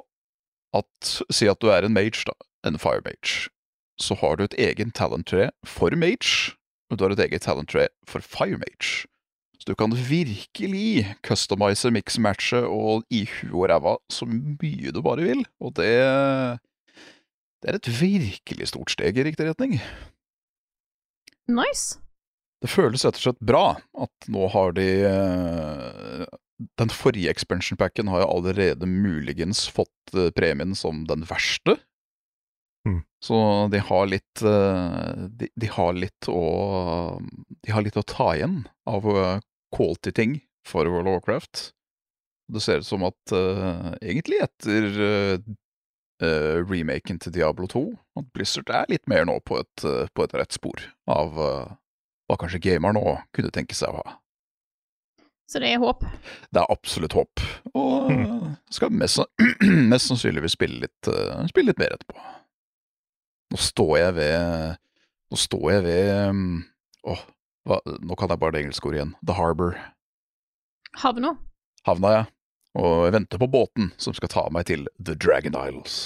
Speaker 3: at Si at du er en mage, da, en fire mage. Så har du et egen talent tre for mage, og du har et eget talent tre for fire mage. Så du kan virkelig customize mix-matchet og i huet og ræva så mye du bare vil. Og det Det er et virkelig stort steg i riktig retning.
Speaker 1: Nice.
Speaker 3: Det føles rett og slett bra at nå har de eh, Den forrige expansion packen har jo allerede muligens fått eh, premien som den verste.
Speaker 2: Mm.
Speaker 3: Så de har litt eh, de, de har litt å De har litt å ta igjen av eh, quality-ting for World of Warcraft. Det ser ut som at eh, egentlig etter eh, eh, remaken til Diablo 2, at Blizzard er litt mer nå på et, eh, på et rett spor av eh, hva kanskje gameren òg kunne tenke seg å ha.
Speaker 1: Så det er håp.
Speaker 3: Det er absolutt håp, og eh, skal mest, sann- mest sannsynligvis spille litt, eh, spille litt mer etterpå. Nå står jeg ved Nå står jeg ved mm, Åh, hva, nå kan jeg bare det engelske ordet igjen. The Harbour.
Speaker 1: Havna.
Speaker 3: Havna jeg, og jeg venter på båten som skal ta meg til The Dragon Isles.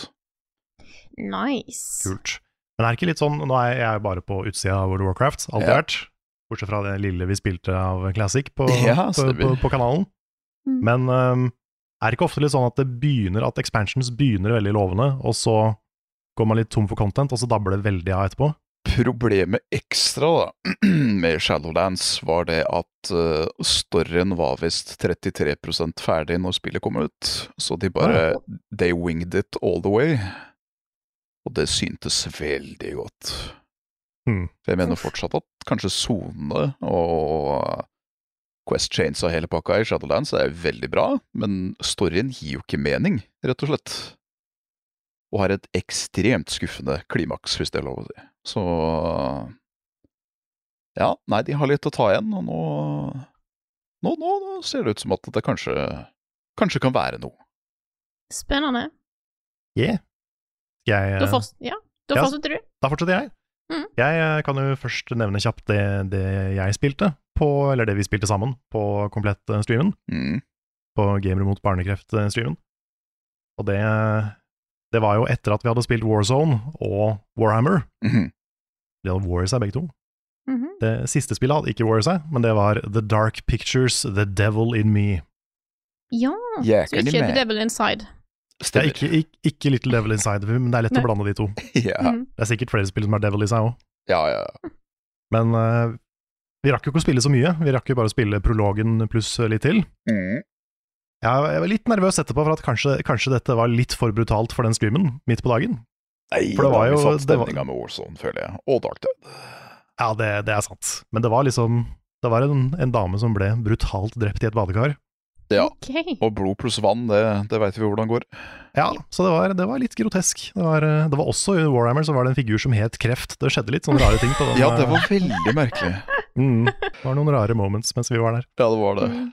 Speaker 1: Nice.
Speaker 2: Kult. Men er det ikke litt sånn, nå er jeg bare på utsida av World of Warcraft, alltid
Speaker 3: Ja.
Speaker 2: vært, bortsett fra det lille vi spilte av Classic på,
Speaker 3: Ja,
Speaker 2: på,
Speaker 3: stemmer.
Speaker 2: på, på kanalen.
Speaker 1: Mm.
Speaker 2: Men øhm, er det ikke ofte litt sånn at det begynner, at expansions begynner veldig lovende, og så går man litt tom for content, og så dabler det veldig av etterpå?
Speaker 3: Problemet ekstra da, med Shadowlands var det at uh, storyen var visst 33 ferdig når spillet kom ut, så de bare They winged it all the way. Og det syntes veldig godt.
Speaker 2: Hmm.
Speaker 3: For jeg mener fortsatt at kanskje sonene og Quest Chains og hele pakka i Shadowlands er veldig bra, men storyen gir jo ikke mening, rett og slett. Og har et ekstremt skuffende klimaks, hvis det er lov å si. Så Ja, nei, de har litt å ta igjen, og nå Nå, nå, nå ser det ut som at det kanskje Kanskje kan være noe.
Speaker 1: Spennende.
Speaker 2: Yeah. Jeg,
Speaker 1: Da,
Speaker 2: øh,
Speaker 1: forts- ja. da
Speaker 2: Ja.
Speaker 1: fortsetter du.
Speaker 2: Da fortsetter jeg.
Speaker 1: Mhm.
Speaker 2: Jeg eh, kan jo først nevne kjapt det, det jeg spilte, på, eller det vi spilte sammen på eh, komplett-streamen.
Speaker 3: Mm.
Speaker 2: på Gamer mot barnekreft-streamen. Og det, det var jo etter at vi hadde spilt Warzone og Warhammer.
Speaker 3: Mhm.
Speaker 2: De hadde War i seg, begge to.
Speaker 1: Mhm.
Speaker 2: Det siste spillet hadde ikke War i seg, men det var The Dark Pictures, The Devil In Me.
Speaker 1: Ja. Ah, Så
Speaker 3: Jækeren i
Speaker 1: ikke The
Speaker 3: meg.
Speaker 1: Devil Inside.
Speaker 2: Det er
Speaker 3: Stemmer.
Speaker 2: ikke, ikke, ikke Little Devil Inside, men det er lett
Speaker 1: Nei.
Speaker 2: å blande de to.
Speaker 3: Ja,
Speaker 1: Mhm.
Speaker 2: Det er sikkert flere spill som er Devil i seg òg.
Speaker 3: ja, ja.
Speaker 2: Men eh, vi rakk jo ikke å spille så mye. Vi rakk jo bare å spille prologen pluss litt til.
Speaker 3: Mm.
Speaker 2: Jeg, jeg var litt nervøs etterpå for at kanskje, kanskje dette var litt for brutalt for den streamen midt på dagen.
Speaker 3: Nei,
Speaker 2: For det
Speaker 3: da
Speaker 2: var
Speaker 3: har vi
Speaker 2: jo-
Speaker 3: satt
Speaker 2: det var-
Speaker 3: stemninga med Warzone, føler jeg. Og Dark Dead.
Speaker 2: Ja, det, det er sant. Men det var liksom Det var en, en dame som ble brutalt drept i et badekar.
Speaker 3: Ja.
Speaker 1: OK.
Speaker 3: Og blod pluss vann, det, det veit vi hvordan går.
Speaker 2: Ja, så det var, det var litt grotesk. Det var, eh, det var også i Warhammer så var det en figur som het Kreft. Det skjedde litt sånne rare ting på den.
Speaker 3: Ja, det
Speaker 2: eh,
Speaker 3: var veldig merkelig.
Speaker 2: mm, det var noen rare moments mens vi var der.
Speaker 3: Ja, det var det.
Speaker 1: Mhm.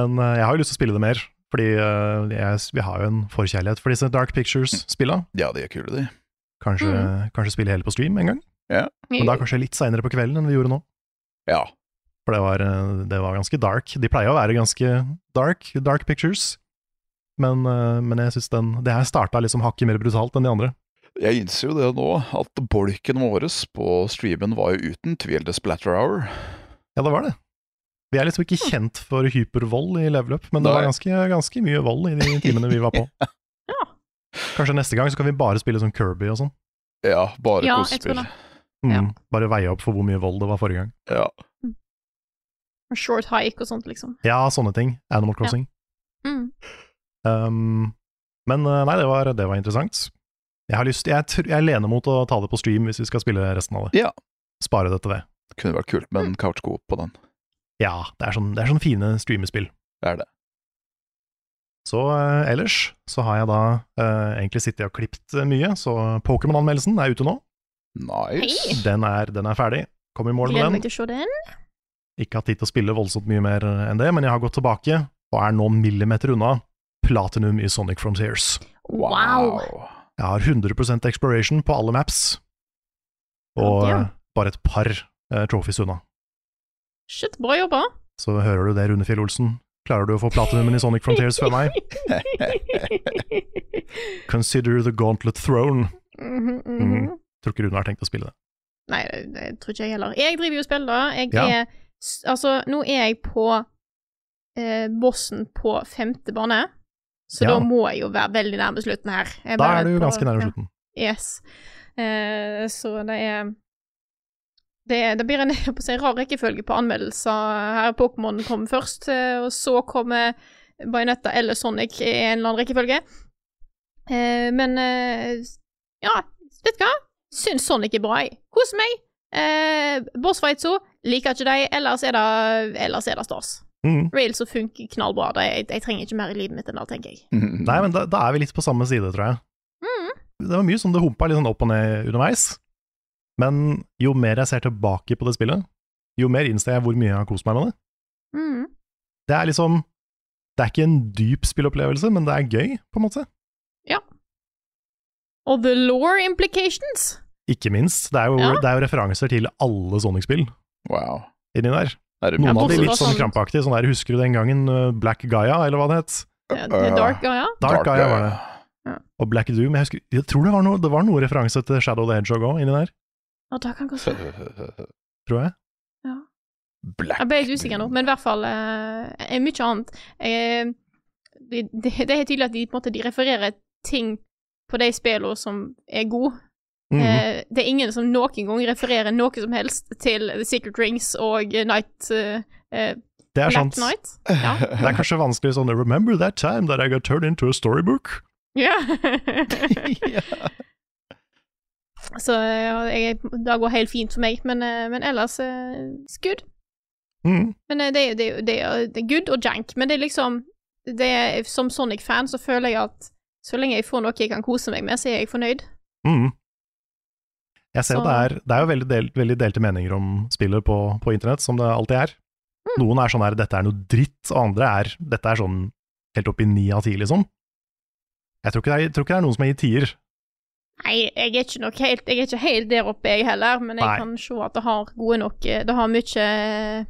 Speaker 2: Men eh, jeg har jo lyst til å spille det mer, Fordi eh, jeg, vi har jo en forkjærlighet for disse Dark Pictures-spilla.
Speaker 3: Ja, de er kule, de.
Speaker 2: Kanskje, kanskje spille hele på stream en gang. Men da kanskje litt seinere på kvelden enn vi gjorde nå.
Speaker 3: Ja.
Speaker 2: For det var, eh, det var ganske dark. De pleier å være ganske dark, Dark Pictures. Men, eh, men jeg syns den Det her starta liksom hakket mer brutalt enn de andre.
Speaker 3: Jeg innser jo det nå, at bolken vår på streamen var jo uten tvil The Splatter Hour.
Speaker 2: Ja, det var det. Vi er liksom ikke kjent for hypervold i level up, men det
Speaker 3: Nei.
Speaker 2: var ganske, ganske mye vold i de timene vi var på.
Speaker 1: Ja.
Speaker 2: Kanskje neste gang så kan vi bare spille som Kirby og sånn.
Speaker 3: Ja, bare
Speaker 1: Ja, jeg tror
Speaker 3: kosespill.
Speaker 1: det.
Speaker 2: Mm.
Speaker 1: Ja.
Speaker 2: Bare veie opp for hvor mye vold det var forrige gang.
Speaker 3: Ja.
Speaker 1: Og Short hike og sånt, liksom.
Speaker 2: Ja, sånne ting. Animal Crossing.
Speaker 1: Mm.
Speaker 2: Um, men eh, nei, det var, det var interessant. Jeg, har lyst, jeg, tr- jeg lener mot å ta det på stream hvis vi skal spille resten av det.
Speaker 3: Ja.
Speaker 2: Spare det til det.
Speaker 3: Kunne vært kult med en couch-coop på den.
Speaker 2: Ja, det er sånn, det er sånn fine streamespill.
Speaker 3: Det er det.
Speaker 2: Så eh, ellers så har jeg da eh, egentlig sittet og klippt eh, mye, så Pokémon-anmeldelsen er ute nå.
Speaker 3: Nice.
Speaker 2: Den er, den er ferdig. Kom i mål
Speaker 1: Gleder
Speaker 2: med
Speaker 1: meg
Speaker 2: den.
Speaker 1: til å se den.
Speaker 2: Ikke hatt tid til å spille voldsomt mye mer enn det, men jeg har gått tilbake og er nå millimeter unna platinum i Sonic Frontiers.
Speaker 1: Wow.
Speaker 2: Jeg har 100 exploration på alle maps, og
Speaker 1: Ja.
Speaker 2: eh, bare et par eh, trophies unna.
Speaker 1: Shit, bra jobba.
Speaker 2: Så hører du det, Rune Fjell Olsen. Klarer du å få platinumen i Sonic Frontiers fra meg? Consider the Gauntlet Throne.
Speaker 1: Mhm, mhm.
Speaker 2: Tror ikke Rune har tenkt å spille det.
Speaker 1: Nei, det, det tror ikke jeg heller. Jeg driver jo og spiller. da. Jeg
Speaker 2: Ja.
Speaker 1: er s- Altså, nå er jeg på eh, bossen på femte bane, så
Speaker 2: Ja.
Speaker 1: da må jeg jo være veldig nærme slutten her. Jeg
Speaker 2: Da
Speaker 1: bare
Speaker 2: er du
Speaker 1: prøver-
Speaker 2: ganske nærme
Speaker 1: ja.
Speaker 2: slutten.
Speaker 1: Yes. Eh, så det er det, er- det blir en, jeg holdt på å si, en rar rekkefølge på anmeldelser. her. Pokémon kom først, eh, og så kommer Bajonetta eller Sonic i en eller annen rekkefølge. Eh, men eh, ja, vet du hva? Syns Sonic er bra, jeg. Kos meg. Uh, Bossfightso, liker ikke deg. Ellers er det, ellers er det stas.
Speaker 2: Mm.
Speaker 1: Rails og funker knallbra. Det, jeg, jeg trenger ikke mer i livet mitt enn det, tenker jeg.
Speaker 2: Nei, men da, da er vi litt på samme side, tror jeg.
Speaker 1: Mm.
Speaker 2: Det var mye sånn det humpa litt sånn opp og ned underveis. Men jo mer jeg ser tilbake på det spillet, jo mer innser jeg hvor mye jeg har kost meg med det.
Speaker 1: Mm.
Speaker 2: Det er liksom Det er ikke en dyp spillopplevelse, men det er gøy, på en måte.
Speaker 1: Og the law implications.
Speaker 2: Ikke minst. Det er jo,
Speaker 1: Ja.
Speaker 2: det er jo referanser til alle Sonic-spill
Speaker 3: Wow.
Speaker 2: inni der.
Speaker 3: Er det
Speaker 2: Noen av de
Speaker 1: bortsett
Speaker 2: litt
Speaker 1: fra
Speaker 2: sånn
Speaker 1: sånn-
Speaker 2: krampaktige. Sånn der, husker du den gangen uh, Black Gaia, eller hva det het?
Speaker 1: Ja, det er Dark Gaia.
Speaker 2: Dark, Gaia var det.
Speaker 1: Ja.
Speaker 2: Og Black Doom. Jeg, husker, jeg tror det var, noe, det var noe referanse til Shadow the Hedgehog òg inni der,
Speaker 1: Ja, da kan godt være.
Speaker 2: tror jeg.
Speaker 3: Black
Speaker 1: Jeg ble litt usikker nå, men i hvert fall eh, eh, mye annet. Eh, det, det, det er helt tydelig at de, på en måte, de refererer ting på de spillene som er gode.
Speaker 2: Mhm.
Speaker 1: Eh, det er ingen som noen gang refererer noe som helst til The Secret Rings og eh, Night eh, eh,
Speaker 2: det er sant.
Speaker 1: Black Night. Ja.
Speaker 2: Det er kanskje vanskelig sånn Remember that time that I got turned into a storybook?
Speaker 1: ja.
Speaker 3: Ja.
Speaker 1: Så ja, jeg, det går helt fint for meg, men, eh, men ellers eh, it's good.
Speaker 2: Mm.
Speaker 1: Men eh, det, er jo- det, er jo- det, er jo- det er good og jank, men det er liksom det er, Som Sonic-fan så føler jeg at så lenge jeg får noe jeg kan kose meg med, så er jeg fornøyd.
Speaker 2: Mm. Jeg ser
Speaker 1: Så-
Speaker 2: at det er, det er jo veldig, del, veldig delte meninger om spillet på, på internett, som det alltid er.
Speaker 1: Mm.
Speaker 2: Noen er sånn her 'dette er noe dritt', og andre er 'dette er sånn helt opp i ni av ti', liksom. Jeg tror ikke det er, jeg tror ikke det er noen som er i tier.
Speaker 1: Nei, jeg er ikke, nok helt, jeg er ikke helt der oppe, jeg heller, men jeg
Speaker 2: Nei.
Speaker 1: kan se at det har gode nok eh, Det har mye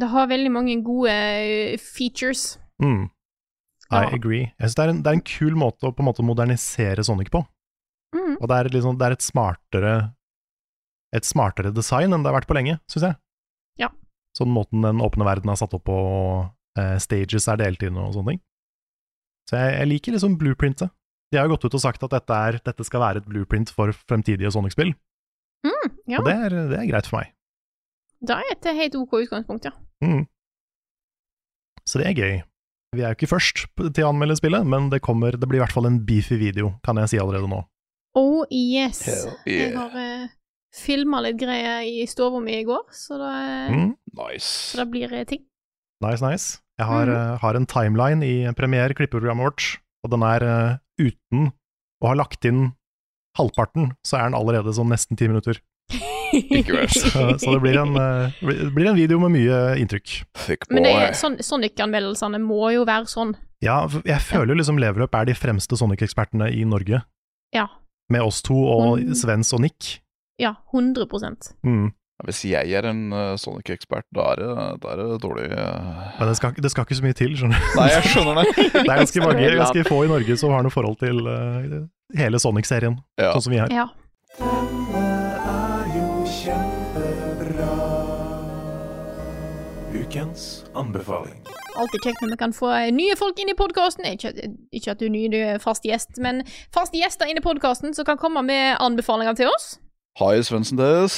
Speaker 1: Det har veldig mange gode eh, features.
Speaker 2: Mm. I
Speaker 1: Ja.
Speaker 2: agree. Jeg synes det, er en, det er en kul måte å på en måte modernisere Sonic på.
Speaker 1: Mm.
Speaker 2: Og det er, et litt sånn- det er et smartere Et smartere design enn det har vært på lenge, syns jeg.
Speaker 1: Ja.
Speaker 2: Sånn måten den åpne verden er satt opp på, og eh, stages er delt inn og sånne ting. Så jeg, jeg liker liksom blueprintet. De har jo gått ut og sagt at dette, er, dette skal være et blueprint for fremtidige Sonic-spill,
Speaker 1: Mm, ja,
Speaker 2: og det er, det er greit for meg.
Speaker 1: det er et helt OK utgangspunkt, ja.
Speaker 2: Så det er gøy. Vi er jo ikke først p- til å anmelde spillet, men det, kommer, det blir i hvert fall en beefy video, kan jeg si allerede nå.
Speaker 1: Oh yes.
Speaker 3: Hell
Speaker 1: Jeg
Speaker 3: yeah.
Speaker 1: har uh, filma litt greier i stua mi i går, så det,
Speaker 2: Mm.
Speaker 1: så
Speaker 3: Nice.
Speaker 1: det blir eh, ting.
Speaker 2: Nice, nice. Jeg har,
Speaker 1: Mhm.
Speaker 2: eh, har en timeline i Premiere, klippeprogrammet vårt, og den er eh, uten å ha lagt inn halvparten, så er den allerede sånn nesten ti minutter.
Speaker 3: Ikke verst.
Speaker 2: Så, så det blir en, eh, det blir en video med mye inntrykk.
Speaker 3: Thick boy.
Speaker 1: Men det er, sånn, Sonic-anmeldelsene må jo være sånn.
Speaker 2: Ja, f- jeg føler jo liksom Leverup er de fremste Sonic-ekspertene i Norge,
Speaker 1: Ja.
Speaker 2: med oss to og
Speaker 1: Mm.
Speaker 2: Svens og Nick.
Speaker 1: Ja, 100
Speaker 2: Mm.
Speaker 3: Hvis jeg er en eh, Sonic-ekspert, da er det, da er det dårlig eh.
Speaker 2: Men det skal, ikke- det skal ikke så mye til, skjønner du.
Speaker 3: Nei, jeg skjønner det.
Speaker 2: Det er ganske mange, ganske få i Norge som har noe forhold til eh, hele Sonic-serien,
Speaker 3: Ja.
Speaker 2: sånn som vi har.
Speaker 1: Ja.
Speaker 4: Ukens anbefaling.
Speaker 1: Alltid kjekt når vi kan få nye folk inn i podkasten. Ikke, ikke at du er ny, du er fast gjest, men faste gjester inn i podkasten som kan komme med anbefalinger til oss.
Speaker 3: Hei, Svendsen Des.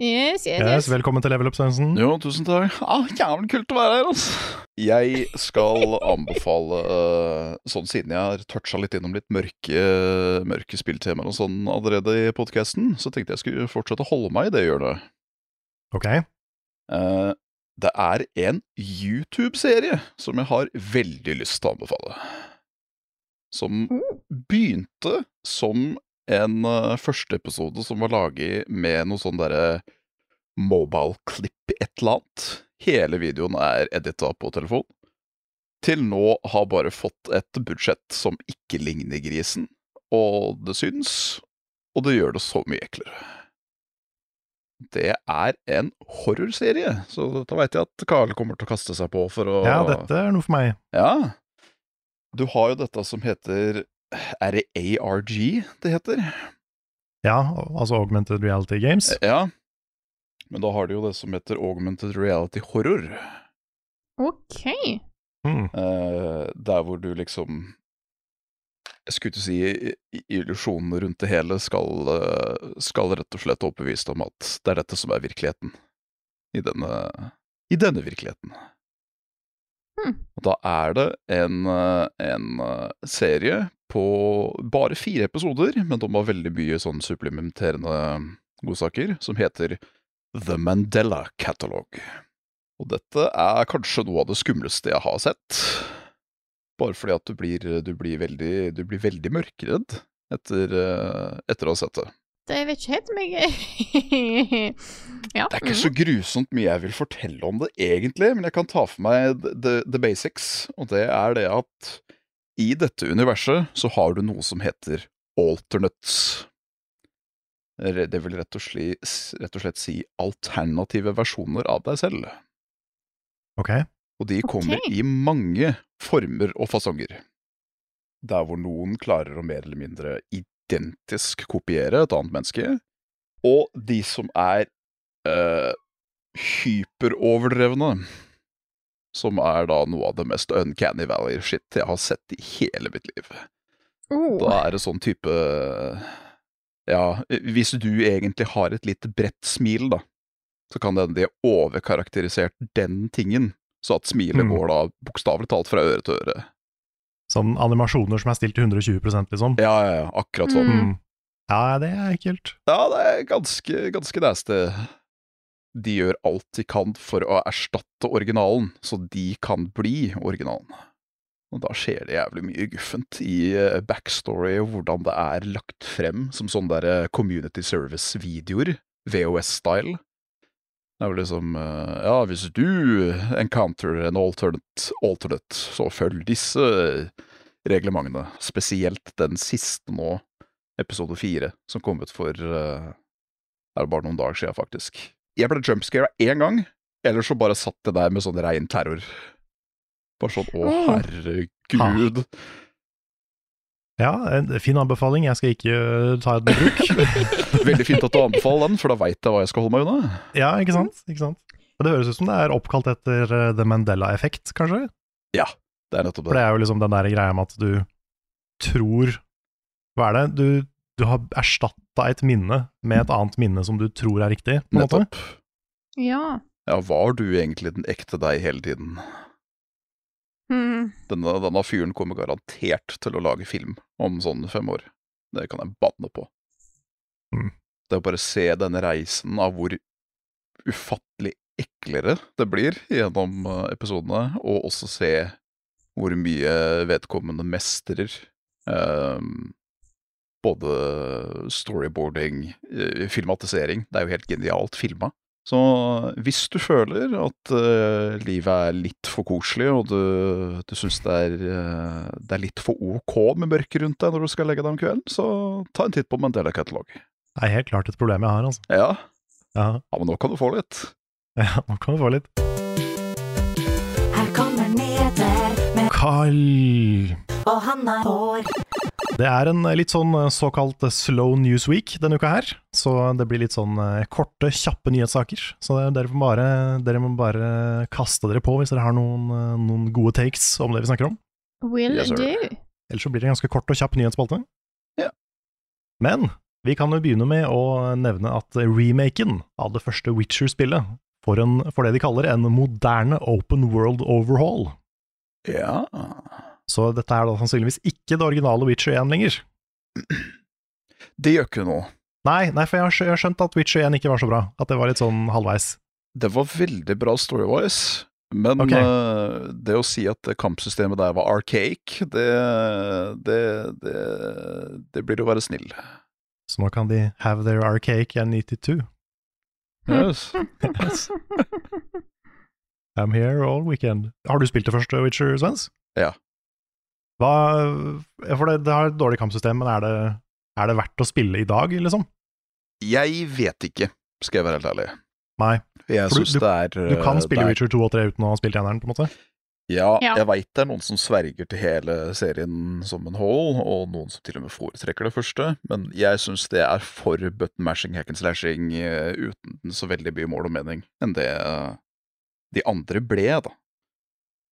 Speaker 1: Yes, yes,
Speaker 2: Yes,
Speaker 1: yes.
Speaker 2: velkommen til Level Up, Svendsen.
Speaker 3: Jo, tusen takk. Ah, jævlig kult å være her, altså. Jeg skal anbefale, eh, sånn siden jeg har toucha litt innom litt mørke, mørke spilltemaer og sånn allerede i podkasten, så tenkte jeg skulle fortsette å holde meg i det hjørnet.
Speaker 2: Ok,
Speaker 3: Eh, det er en YouTube-serie som jeg har veldig lyst til å anbefale. Som begynte som en eh, første episode som var laget med noe sånn derre mobile-klipp et eller annet. Hele videoen er edita på telefon. Til nå har bare fått et budsjett som ikke ligner grisen. Og det syns, og det gjør det så mye eklere det er en horrorserie, så da veit jeg at Karl kommer til å kaste seg på for å
Speaker 2: ja, dette er noe for meg.
Speaker 3: Ja. Du har jo dette som heter Er det ARG det heter?
Speaker 2: Ja, altså Augmented Reality Games.
Speaker 3: Ja. Men da har du jo det som heter augmented reality horror.
Speaker 1: OK.
Speaker 2: Mm.
Speaker 3: Eh, der hvor du liksom Jeg skulle ikke si i- i- illusjonen rundt det hele skal, eh, skal rett og slett overbevise deg om at det er dette som er virkeligheten. I denne, i denne virkeligheten.
Speaker 1: Hmm.
Speaker 3: Og da er det en, eh, en eh, serie på bare fire episoder, men de har veldig mye sånn supplementerende godsaker, som heter The Mandela Catalog. Og dette er kanskje noe av det skumleste jeg har sett. Bare fordi at du blir, du blir, veldig, du blir veldig mørkredd etter, eh, etter å ha sett det.
Speaker 1: Det jeg vet ikke helt om jeg Ja. mm.
Speaker 3: Det er ikke så grusomt mye jeg vil fortelle om det egentlig, men jeg kan ta for meg the, the, the basics, og det er det at i dette universet så har du noe som heter alternates. Re- Det vil rett og slett, rett og slett si alternative versjoner av deg selv.
Speaker 2: Ok,
Speaker 3: Og de kommer
Speaker 1: Ok.
Speaker 3: i mange former og fasonger. Der hvor noen klarer å mer eller mindre identisk kopiere et annet menneske, og de som er eh, hyperoverdrevne, som er da noe av det mest uncanny valley-shit jeg har sett i hele mitt liv.
Speaker 1: oh.
Speaker 3: Da er det sånn type Ja, hvis du egentlig har et litt bredt smil, da, så kan det hende de har overkarakterisert den tingen, så at smilet
Speaker 2: Mm.
Speaker 3: går da bokstavelig talt fra øre til øre.
Speaker 2: Sånn animasjoner som er stilt til 120 liksom.
Speaker 3: Ja, ja, ja, akkurat sånn.
Speaker 2: Mm. Ja, det er ekkelt.
Speaker 3: Ja, det er ganske, ganske nasty. De gjør alt de kan for å erstatte originalen, så de kan bli originalen. Og da skjer det jævlig mye guffent i eh, backstory og hvordan det er lagt frem som sånne der eh, community service-videoer, VOS-style. Det er jo liksom eh, Ja, hvis du encounter en alternate, alternate så følg disse reglementene. Spesielt den siste nå, episode fire, som kom ut for eh, Er det bare noen dager siden, faktisk. Jeg ble jumpscare én gang, ellers så bare satt det der med sånn rein terror. Bare sånn Å,
Speaker 1: Mm.
Speaker 3: herregud.
Speaker 2: Ja, en fin anbefaling. Jeg skal ikke eh, ta den i bruk.
Speaker 3: Veldig fint at du anbefaler den, for da veit jeg hva jeg skal holde meg unna.
Speaker 2: ja, ikke sant? ikke sant? Og Det høres ut som det er oppkalt etter eh, The Mandela-effekt, kanskje?
Speaker 3: Det er nettopp
Speaker 2: For det
Speaker 3: det.
Speaker 2: er jo liksom den der greia med at du tror Hva er det? Du, du har erstatta et minne med et annet minne som du tror er riktig, på en måte.
Speaker 3: Nettopp.
Speaker 1: Ja.
Speaker 3: Ja, var du egentlig den ekte deg hele tiden?
Speaker 1: Hmm.
Speaker 3: Denne, denne fyren kommer garantert til å lage film om sånn fem år. Det kan jeg banne på.
Speaker 2: Mm.
Speaker 3: Det er å bare se denne reisen av hvor ufattelig eklere det blir gjennom eh, episodene, og også se hvor mye vedkommende mestrer. Ehm, både storyboarding, eh, filmatisering. Det er jo helt genialt filma. Så hvis du føler at eh, livet er litt for koselig, og du, du syns det, er, eh, det er litt for ok med mørket rundt deg når du skal legge deg om kvelden, så ta en titt på Mandela-katalog.
Speaker 2: Det er helt klart et problem jeg har, altså.
Speaker 3: Ja.
Speaker 2: Ja,
Speaker 3: ja, men nå kan du få litt.
Speaker 2: ja nå kan du få litt.
Speaker 5: Her kommer Neder,
Speaker 2: Carl.
Speaker 5: og han har hår.
Speaker 2: Det er en eh, litt sånn eh, såkalt eh, slow news week denne uka her, så det blir litt sånn eh, korte, kjappe nyhetssaker. Så det- dere må bare, dere må bare kaste dere på hvis dere har noen, eh, noen gode takes om det vi snakker om.
Speaker 1: Will
Speaker 3: Yes, sir.
Speaker 1: do.
Speaker 2: Ellers så blir det en ganske kort og kjapp nyhetsspalte.
Speaker 3: Ja.
Speaker 2: Men vi kan jo begynne med å nevne at remaken av det første Witcher-spillet får, en, får det de kaller en moderne open world overhaul.
Speaker 3: Ja.
Speaker 2: Så dette er da sannsynligvis ikke det originale Witcher 1 lenger.
Speaker 3: Det gjør ikke noe.
Speaker 2: Nei, nei for jeg har, skj- jeg har skjønt at Witcher 1 ikke var så bra. At det var litt sånn halvveis.
Speaker 3: Det var veldig bra storywise, men
Speaker 2: Ok.
Speaker 3: eh, det å si at det kampsystemet der var archaic, det, det, det, det blir å være snill.
Speaker 2: Så nå kan de have their archaic and eat it too.
Speaker 3: Yes.
Speaker 2: I'm here all weekend. Har du spilt det første Witcher, Svens?
Speaker 3: Ja.
Speaker 2: Hva, ja, for det, det har et dårlig kampsystem, men er det, er det verdt å spille i dag, liksom?
Speaker 3: Jeg vet ikke, skal jeg være helt ærlig.
Speaker 2: Nei.
Speaker 3: Jeg
Speaker 2: For du-
Speaker 3: synes det er
Speaker 2: Du kan
Speaker 3: eh,
Speaker 2: spille
Speaker 3: det er-
Speaker 2: Witcher 2 og 3 uten å ha spilt eneren, på en måte.
Speaker 3: Ja,
Speaker 1: Ja.
Speaker 3: jeg veit det er noen som sverger til hele serien som en whole, og noen som til og med foretrekker det første, men jeg syns det er for button mashing, hack and slashing, eh, uten så veldig mye mål og mening enn det eh, de andre ble, da.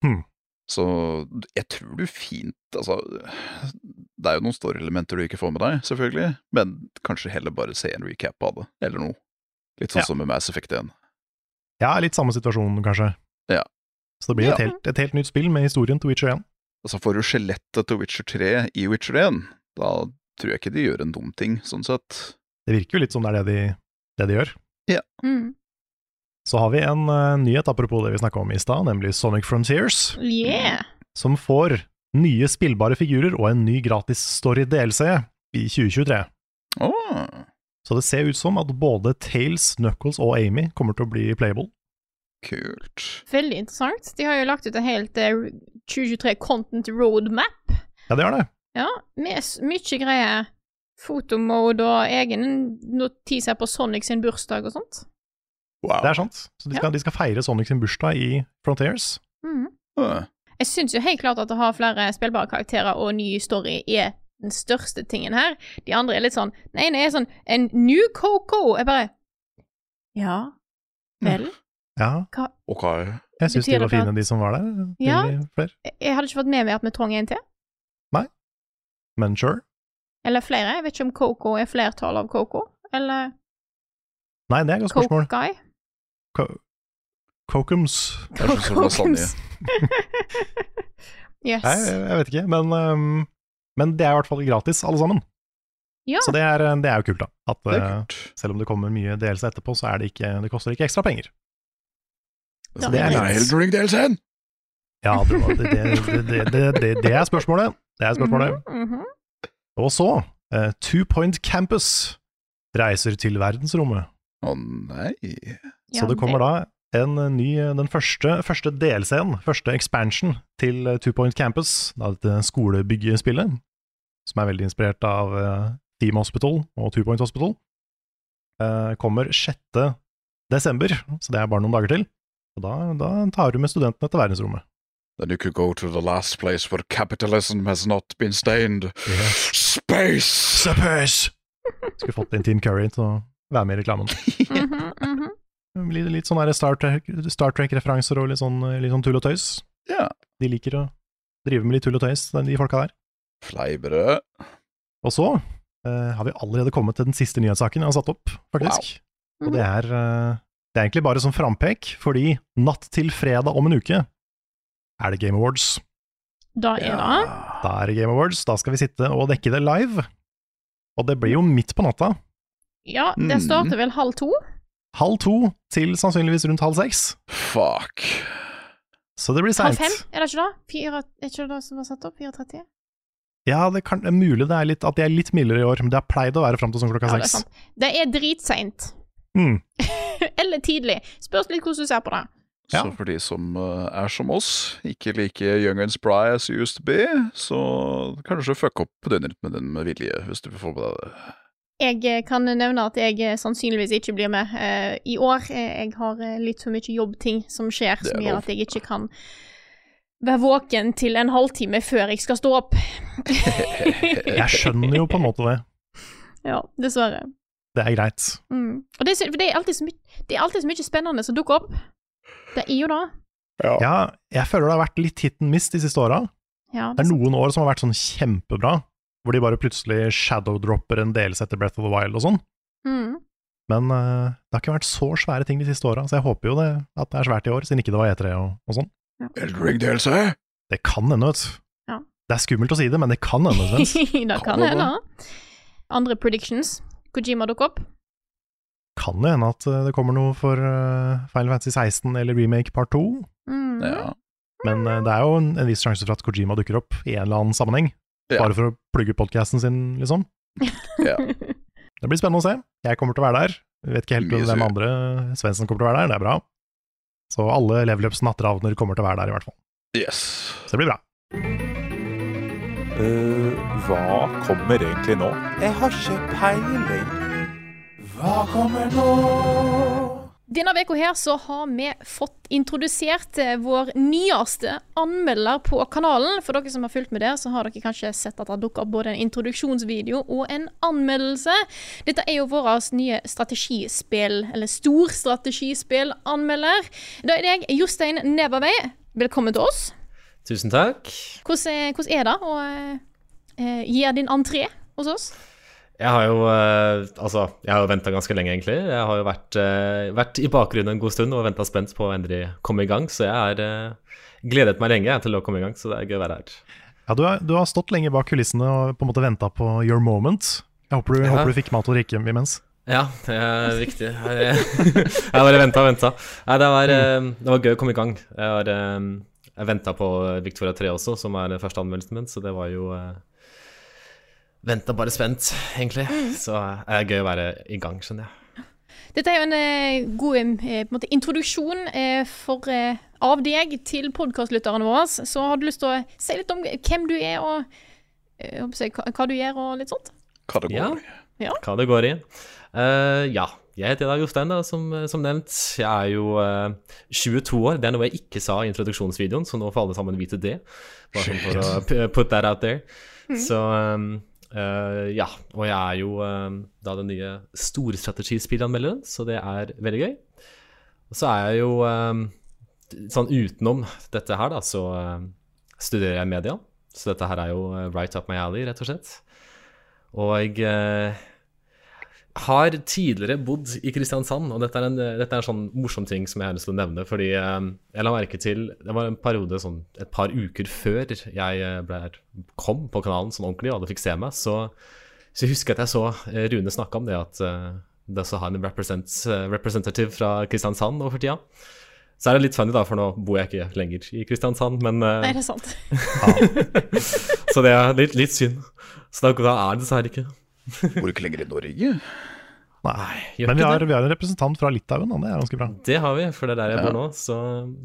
Speaker 2: Hmm.
Speaker 3: Så jeg tror du fint Altså, det er jo noen story-elementer du ikke får med deg, selvfølgelig, men kanskje heller bare se en recap av det, eller noe. Litt sånn
Speaker 2: Ja.
Speaker 3: som med Mass Effect 1.
Speaker 2: Ja, litt samme situasjon, kanskje.
Speaker 3: Ja.
Speaker 2: Så det blir et,
Speaker 3: Ja.
Speaker 2: helt, et helt nytt spill med historien til Witcher 1.
Speaker 3: Altså får du skjelettet til Witcher 3 i Witcher 1, da tror jeg ikke de gjør en dum ting, sånn sett.
Speaker 2: Det virker jo litt som det er det de, det de gjør.
Speaker 1: Mm.
Speaker 2: Så har vi en eh, nyhet apropos det vi snakka om i stad, nemlig Sonic Frontiers,
Speaker 1: Yeah.
Speaker 2: som får nye spillbare figurer og en ny gratis story DLC i 2023.
Speaker 3: Åh,
Speaker 2: Så det ser ut som at både Tails, Knuckles og Amy kommer til å bli playable.
Speaker 3: kult.
Speaker 1: Veldig interessant. De har jo lagt ut en helt eh, 2023 Content Roadmap.
Speaker 2: Ja, det er det.
Speaker 1: Ja, med s- mye greier. Fotomode og egen notiser på Sonic sin bursdag og sånt.
Speaker 3: Wow.
Speaker 2: Det er sånn- sant. Så de skal, de skal feire Sonic sin bursdag i Frontiers.
Speaker 1: Mhm.
Speaker 3: Åh,
Speaker 1: Jeg syns jo helt klart at å ha flere spillbare karakterer og ny story er den største tingen her. De andre er litt sånn Den ene er sånn En new Coco! Jeg bare Ja. Vel.
Speaker 2: Ja,
Speaker 3: ok.
Speaker 2: jeg syns de
Speaker 1: Betyr
Speaker 2: var
Speaker 1: det at-
Speaker 2: fine, de som var der.
Speaker 1: Ja.
Speaker 2: Til Flere.
Speaker 1: Jeg- Jeg hadde ikke fått med meg at vi trang en til.
Speaker 2: Men sure.
Speaker 1: Eller flere. Jeg vet ikke om Coco er flertall av Coco. Eller
Speaker 2: Nei, det er et godt
Speaker 1: Coke
Speaker 2: spørsmål.
Speaker 1: Guy.
Speaker 2: Kokums?
Speaker 3: Det er sånn som lasagne.
Speaker 1: yes.
Speaker 2: Nei, jeg vet ikke. Men, øhm, men det er i hvert fall gratis, alle sammen.
Speaker 1: Ja.
Speaker 2: Så det er, eh, det er jo kult, da. At
Speaker 3: Det er
Speaker 2: øh,
Speaker 3: kult.
Speaker 2: selv om det kommer mye delelse etterpå, så er det ikke, det koster ikke ekstra penger.
Speaker 1: Ja,
Speaker 2: det er
Speaker 3: Nei,
Speaker 2: nice.
Speaker 3: Elden Ring DLC-en!
Speaker 2: Ja, det, var- det, det, det, det, det, det er spørsmålet. Det er spørsmålet.
Speaker 1: Mhm, mhm.
Speaker 2: Og så, eh, Two Point Campus reiser til verdensrommet.
Speaker 3: Å nei.
Speaker 2: Så det kommer da en eh, ny, den første, første delscenen, første expansion til eh, Two Point Campus, da dette skolebyggespillet, som er veldig inspirert av eh, Team Hospital og Two Point Hospital, eh, kommer 6. desember, så det er bare noen dager til. Og da, da tar du med studentene til verdensrommet.
Speaker 3: Then you could go to the last place where capitalism has not been stained.
Speaker 2: Yes.
Speaker 3: Space!
Speaker 2: Suppers! Skulle fått inn Team Curry til å være med i reklamen.
Speaker 1: Mhm, mhm.
Speaker 2: Litt, litt sånn der Star Trek- Star Trek-referanser og litt sånn, litt sånn tull og tøys.
Speaker 3: Ja.
Speaker 2: De liker å drive med litt tull og tøys, de folka der.
Speaker 3: Fleibrød.
Speaker 2: Og så eh, har vi allerede kommet til den siste nyhetssaken jeg har satt opp, faktisk.
Speaker 1: Mhm.
Speaker 2: Og det er, eh, det er egentlig bare som frampek, fordi natt til fredag om en uke er det Game Awards.
Speaker 1: Da er det
Speaker 2: Da er det Game Awards, da skal vi sitte og dekke det live. Og det blir jo midt på natta.
Speaker 1: Ja,
Speaker 2: Mm.
Speaker 1: det starter vel halv to.
Speaker 2: Halv to til sannsynligvis rundt halv seks.
Speaker 3: Fuck.
Speaker 2: Så det blir
Speaker 1: Halv
Speaker 2: seint.
Speaker 1: fem, er det ikke da? Fire, er ikke det da som var satt opp? 4.30?
Speaker 2: Ja, det kan, det er mulig det er litt, at de er litt mildere i år, men det har pleid å være fram til sånn klokka
Speaker 1: Ja, det er
Speaker 2: seks.
Speaker 1: sant. Det er dritseint.
Speaker 2: Mm.
Speaker 1: Eller tidlig. Spørs litt hvordan du ser på det.
Speaker 2: Ja.
Speaker 3: Så for de som eh, er som oss, ikke like young and spry as you used to be, så kanskje fuck opp døgnrytmen din med vilje, hvis du får på deg det.
Speaker 1: Jeg eh, kan nevne at jeg eh, sannsynligvis ikke blir med eh, i år. Eh, Jeg har eh, litt for mye jobbting som skjer,
Speaker 3: Det er
Speaker 1: som gjør
Speaker 3: lov.
Speaker 1: at jeg ikke kan være våken til en halvtime før jeg skal stå opp.
Speaker 2: Jeg skjønner jo på en måte det.
Speaker 1: Ja, dessverre.
Speaker 2: Det er greit.
Speaker 1: Mm. Og det, er så- for det er alltid så mye, det er alltid så mye spennende som dukker opp. Det er jo det.
Speaker 2: Ja, jeg føler det har vært litt hit and miss de siste åra.
Speaker 1: Ja,
Speaker 2: Det er noen år som har vært sånn kjempebra, hvor de bare plutselig shadowdropper en delelse etter Breath of the Wild og sånn.
Speaker 1: mm.
Speaker 2: Men eh, det har ikke vært så svære ting de siste åra, så jeg håper jo det, at det er svært i år, siden ikke det var E3 og, og sånn.
Speaker 3: Elden Ring DLC?
Speaker 2: Det kan hende, vet du.
Speaker 1: Ja.
Speaker 2: Det er skummelt å si det, men det kan hende. Sven.
Speaker 1: det kan
Speaker 3: det
Speaker 1: hende. Andre predictions. Kojima dukker opp.
Speaker 2: kan jo hende at eh, det kommer noe for eh, Final Fantasy 16 eller Remake part 2,
Speaker 1: Mm.
Speaker 3: Ja.
Speaker 2: men eh, det er jo en, en viss sjanse for at Kojima dukker opp i en eller annen sammenheng.
Speaker 3: Ja.
Speaker 2: Bare for å plugge podkasten sin, liksom.
Speaker 3: Ja.
Speaker 2: Det blir spennende å se. Jeg kommer til å være der. Jeg vet ikke helt
Speaker 3: Mye
Speaker 2: hvem
Speaker 3: sur.
Speaker 2: andre Svendsen kommer til å være der, det er bra. Så alle level ups natteravner kommer til å være der, i hvert fall.
Speaker 3: Yes.
Speaker 2: Så det blir bra.
Speaker 4: Eh, hva kommer egentlig nå? Jeg har ikke peiling. Hva kommer nå?
Speaker 1: Denne veka her så har vi fått introdusert eh, vår nyeste anmelder på kanalen. For dere som har fulgt med der, så har dere kanskje sett at det dukker opp både en introduksjonsvideo og en anmeldelse. Dette er jo vår nye strategispill, eller stor strategispillanmelder. Da er det jeg, Jostein Nevervei. Velkommen til oss.
Speaker 6: Tusen takk.
Speaker 1: Hvordan, hvordan er det å eh, gi din entré hos oss?
Speaker 6: Jeg har jo eh, altså, jeg har jo venta ganske lenge, egentlig. Jeg har jo vært, eh, vært i bakgrunnen en god stund og venta spent på å endelig komme i gang, så jeg har eh, gledet meg lenge jeg, til å komme i gang, så det er gøy å være her.
Speaker 2: Ja, du, har, du har stått lenge bak kulissene og på en måte venta på your moment. Jeg håper du,
Speaker 6: Ja.
Speaker 2: håper du fikk mat og drikke imens.
Speaker 6: Ja, det er viktig. Jeg eh, jeg bare venta og venta. Nei, det var, eh, det var gøy å komme i gang. Jeg, var, eh, jeg venta på Victoria 3 også, som er den første anmeldelsen min, så det var jo Venta bare spent, egentlig. Så eh, det er gøy å være i gang, skjønner jeg.
Speaker 1: Dette er jo en eh, god eh, på en måte, introduksjon eh, for, eh, av deg til podkastlytterne våre. Så har du lyst til å si litt om hvem du er, og eh, håper jeg, hva hva du gjør, og litt sånt?
Speaker 3: Hva det går
Speaker 6: Ja.
Speaker 3: i.
Speaker 6: hva det går i. Eh, ja, jeg heter da Jostein, da, som, eh, som nevnt. Jeg er jo eh, 22 år. Det er noe jeg ikke sa i introduksjonsvideoen, så nå får alle sammen vite det. Bare sånn for å p- put that out there. Så eh, eh, ja. Og jeg er jo eh, da den nye storstrategispillanmelderen, så det er veldig gøy. Og så er jeg jo eh, sånn utenom dette her, da, så eh, studerer jeg media. Så dette her er jo eh, right up my alley, rett og slett. Og eh, har tidligere bodd i Kristiansand, og dette er, en, dette er en sånn morsom ting som jeg har lyst til å nevne. Fordi eh, jeg la merke til Det var en periode, sånn et par uker før jeg eh, ble, kom på kanalen sånn ordentlig, og alle fikk se meg, så, så jeg husker at jeg så eh, Rune snakke om det at eh, det også har en represent, eh, representative fra Kristiansand nå for tida. Så er det litt funny, da, for nå bor jeg ikke lenger i Kristiansand, men eh,
Speaker 1: Nei, det er sant.
Speaker 6: Så det er litt, litt synd. Så da, da er det dessverre ikke.
Speaker 3: Bor ikke lenger i Norge.
Speaker 2: Nei.
Speaker 6: Gjør
Speaker 2: Men vi
Speaker 6: ikke
Speaker 2: har,
Speaker 6: det.
Speaker 2: vi har en representant fra Litauen, da. Det er ganske bra.
Speaker 6: Det har vi, for det er der jeg
Speaker 3: Ja.
Speaker 6: bor nå, så,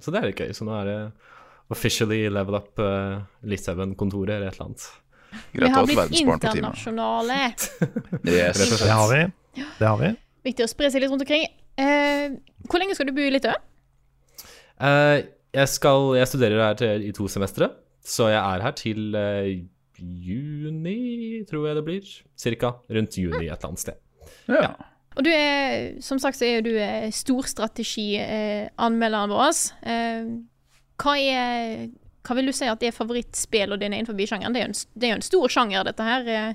Speaker 6: så det er litt gøy. Så nå er det officially level up uh, Litauen-kontoret eller et eller annet.
Speaker 1: Vi
Speaker 3: Greit å
Speaker 1: har
Speaker 3: ha et
Speaker 1: blitt
Speaker 3: verdensbarn på teamet.
Speaker 1: internasjonale.
Speaker 3: Yes.
Speaker 6: Rett og slett.
Speaker 2: Det har vi. Det har vi.
Speaker 1: Viktig å spre seg litt rundt omkring. Eh, hvor lenge skal du bo i Litauen?
Speaker 6: Eh, jeg, skal, jeg studerer her til, i to semestre, så jeg er her til eh, juni, tror jeg det blir. Cirka. Rundt juni et eller annet sted.
Speaker 3: Ja.
Speaker 1: Og du er, som sagt, så er jo du eh, storstrategianmelderen vår. Eh, hva er Hva vil du si at er favorittspillene dine innenfor sjangeren? Det er jo en, s- det er jo en stor sjanger, dette her. Eh,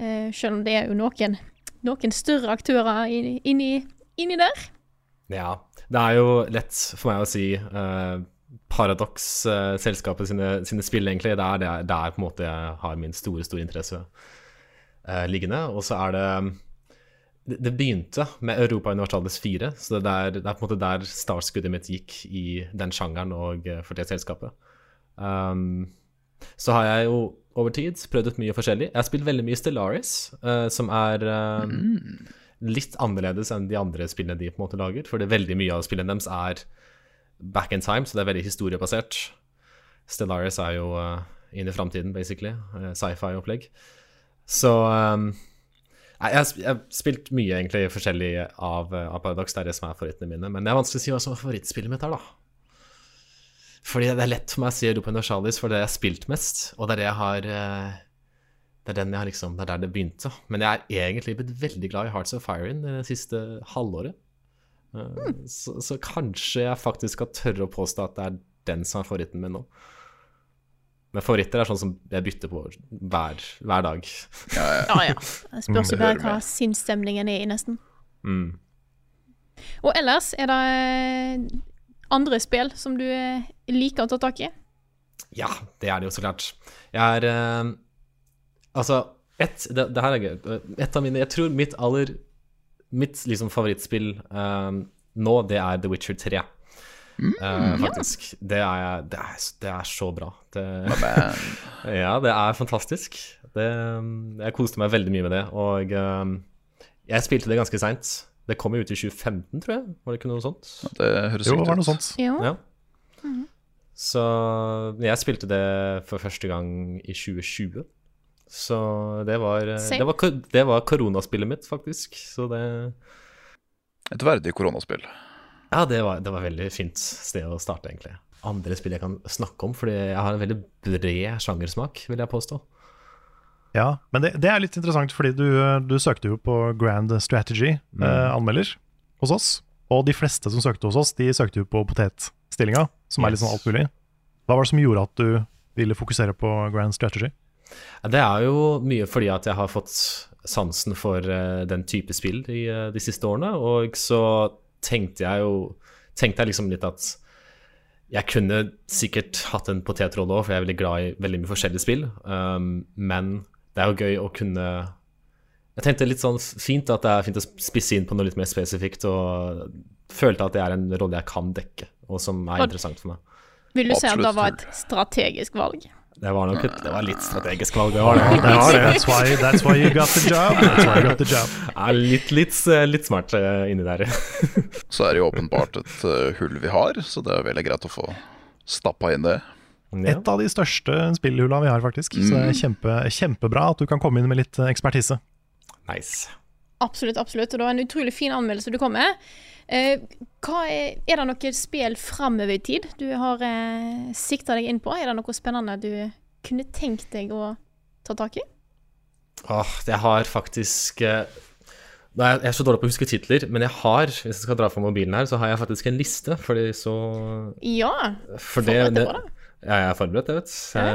Speaker 1: eh, selv om det er jo noen, noen større aktører inni, inni, inni der.
Speaker 6: Ja. Det er jo lett for meg å si eh, Paradox, eh, selskapet sine, sine spill, egentlig. Det er, det, er, det er på en måte jeg har min store, store interesse eh, liggende. Og så er det det- Det begynte med Europa Universalis 4, så det, er der, det er på en måte der startskuddet mitt gikk i den sjangeren og eh, for det selskapet. Um, Ehm, så har jeg jo over tid. Prøvd ut mye forskjellig. Jeg har spilt veldig mye Stellaris, eh, som er eh, litt annerledes enn de andre spillene de på en måte lager. For det er veldig mye av spillene deres er back in time, så det er veldig historiebasert. Stellaris er jo eh, inn i framtiden, basically. Eh, Sci-fi-opplegg. Så eh, Nei, jeg har sp- jeg har spilt mye egentlig forskjellig av, eh, av Paradox. Det er det som er favorittene mine. Men det er vanskelig å si hva som er favorittspillet mitt her, da. Fordi det er lett for meg å si Europa Universalis, for det er det jeg har spilt mest. Og det er det jeg har eh, Det er den jeg har liksom Det er der det begynte. Men jeg er egentlig blitt veldig glad i Hearts of Firing det siste halvåret. Eh, Så, så kanskje jeg faktisk skal tørre å påstå at det er den som er favoritten min nå. Men favoritter er sånn som jeg bytter på hver, hver dag.
Speaker 1: Ja, ja. Det spørs jo
Speaker 3: Mm,
Speaker 1: bare
Speaker 3: hører
Speaker 1: hva
Speaker 3: med.
Speaker 1: sinnsstemningen er i, nesten.
Speaker 6: Mm.
Speaker 1: Og ellers, er det eh, andre spill som du eh, liker å ta tak i?
Speaker 6: Ja, det er det jo så klart. Jeg er eh, Altså, ett det, det her er gøy. Et av mine Jeg tror mitt aller Mitt liksom favorittspill eh, nå, det er The Witcher 3. Eh, faktisk. Det, er, det, er, det er så bra. Det, ja, det er fantastisk. Det, eh, jeg koste meg veldig mye med det. Og eh, jeg spilte det ganske seint. Det kom jo ut i 2015, tror jeg. Var det ikke noe sånt?
Speaker 3: Det høres
Speaker 2: Jo, det var
Speaker 3: riktig ut.
Speaker 2: noe sånt.
Speaker 1: Jo.
Speaker 6: Ja. Så jeg spilte det for første gang i 2020. Så det var, eh,
Speaker 1: Same.
Speaker 6: det var, ko- det var koronaspillet mitt, faktisk. Så det
Speaker 3: Et verdig koronaspill.
Speaker 6: Ja, det var, det var veldig fint sted å starte, egentlig. Andre spill jeg kan snakke om, fordi jeg har en veldig bred sjangersmak, vil jeg påstå.
Speaker 2: Ja, men det, det er litt interessant, fordi du, eh, du søkte jo på Grand Strategy eh, anmelder hos oss. Og de fleste som søkte hos oss, de søkte jo på potetstillinga, som er litt sånn
Speaker 6: Yes.
Speaker 2: alt mulig. Hva var det som gjorde at du ville fokusere på Grand Strategy?
Speaker 6: Ja, Det er jo mye fordi at jeg har fått sansen for eh, den type spill i, eh, de siste årene. Og så tenkte jeg jo Tenkte jeg liksom litt at jeg kunne sikkert hatt en potetrolle òg, for jeg er veldig glad i veldig mye forskjellige spill. Um, men det er jo gøy å kunne Jeg tenkte litt sånn fint at det er fint å spisse inn på noe litt mer spesifikt, og følte at det er en rolle jeg kan dekke, og som
Speaker 1: Og-
Speaker 6: er interessant for meg.
Speaker 1: Vil du si at
Speaker 3: Absolutt.
Speaker 1: det var et strategisk valg?
Speaker 6: Det var nok et, det var litt strategisk valg, det var det. det, var det.
Speaker 2: That's why, that's why you got the job. That's why you got the job.
Speaker 6: er litt, litt, litt smart eh, inni der.
Speaker 3: Så er det jo åpenbart et eh, hull vi har, så det er veldig greit å få stappa inn det.
Speaker 6: Ja.
Speaker 2: Et av de største spillhulla vi har, faktisk. Så det er kjempe, kjempebra at du kan komme inn med litt eh, ekspertise.
Speaker 6: Nice.
Speaker 1: Absolutt, absolutt. Og det var en utrolig fin anmeldelse du kom med. Eh, hva er, er det noe spill framover i tid du har eh, sikta deg inn på? Er det noe spennende du kunne tenkt deg å ta tak i?
Speaker 6: Åh, jeg har faktisk eh, Nå er jeg, jeg er så dårlig på å huske titler, men jeg har, hvis jeg skal dra fra mobilen her, så har jeg faktisk en liste, fordi så
Speaker 1: Ja.
Speaker 6: for
Speaker 1: Forberedt deg på det.
Speaker 6: Ja, jeg er forberedt, jeg vet. Eh,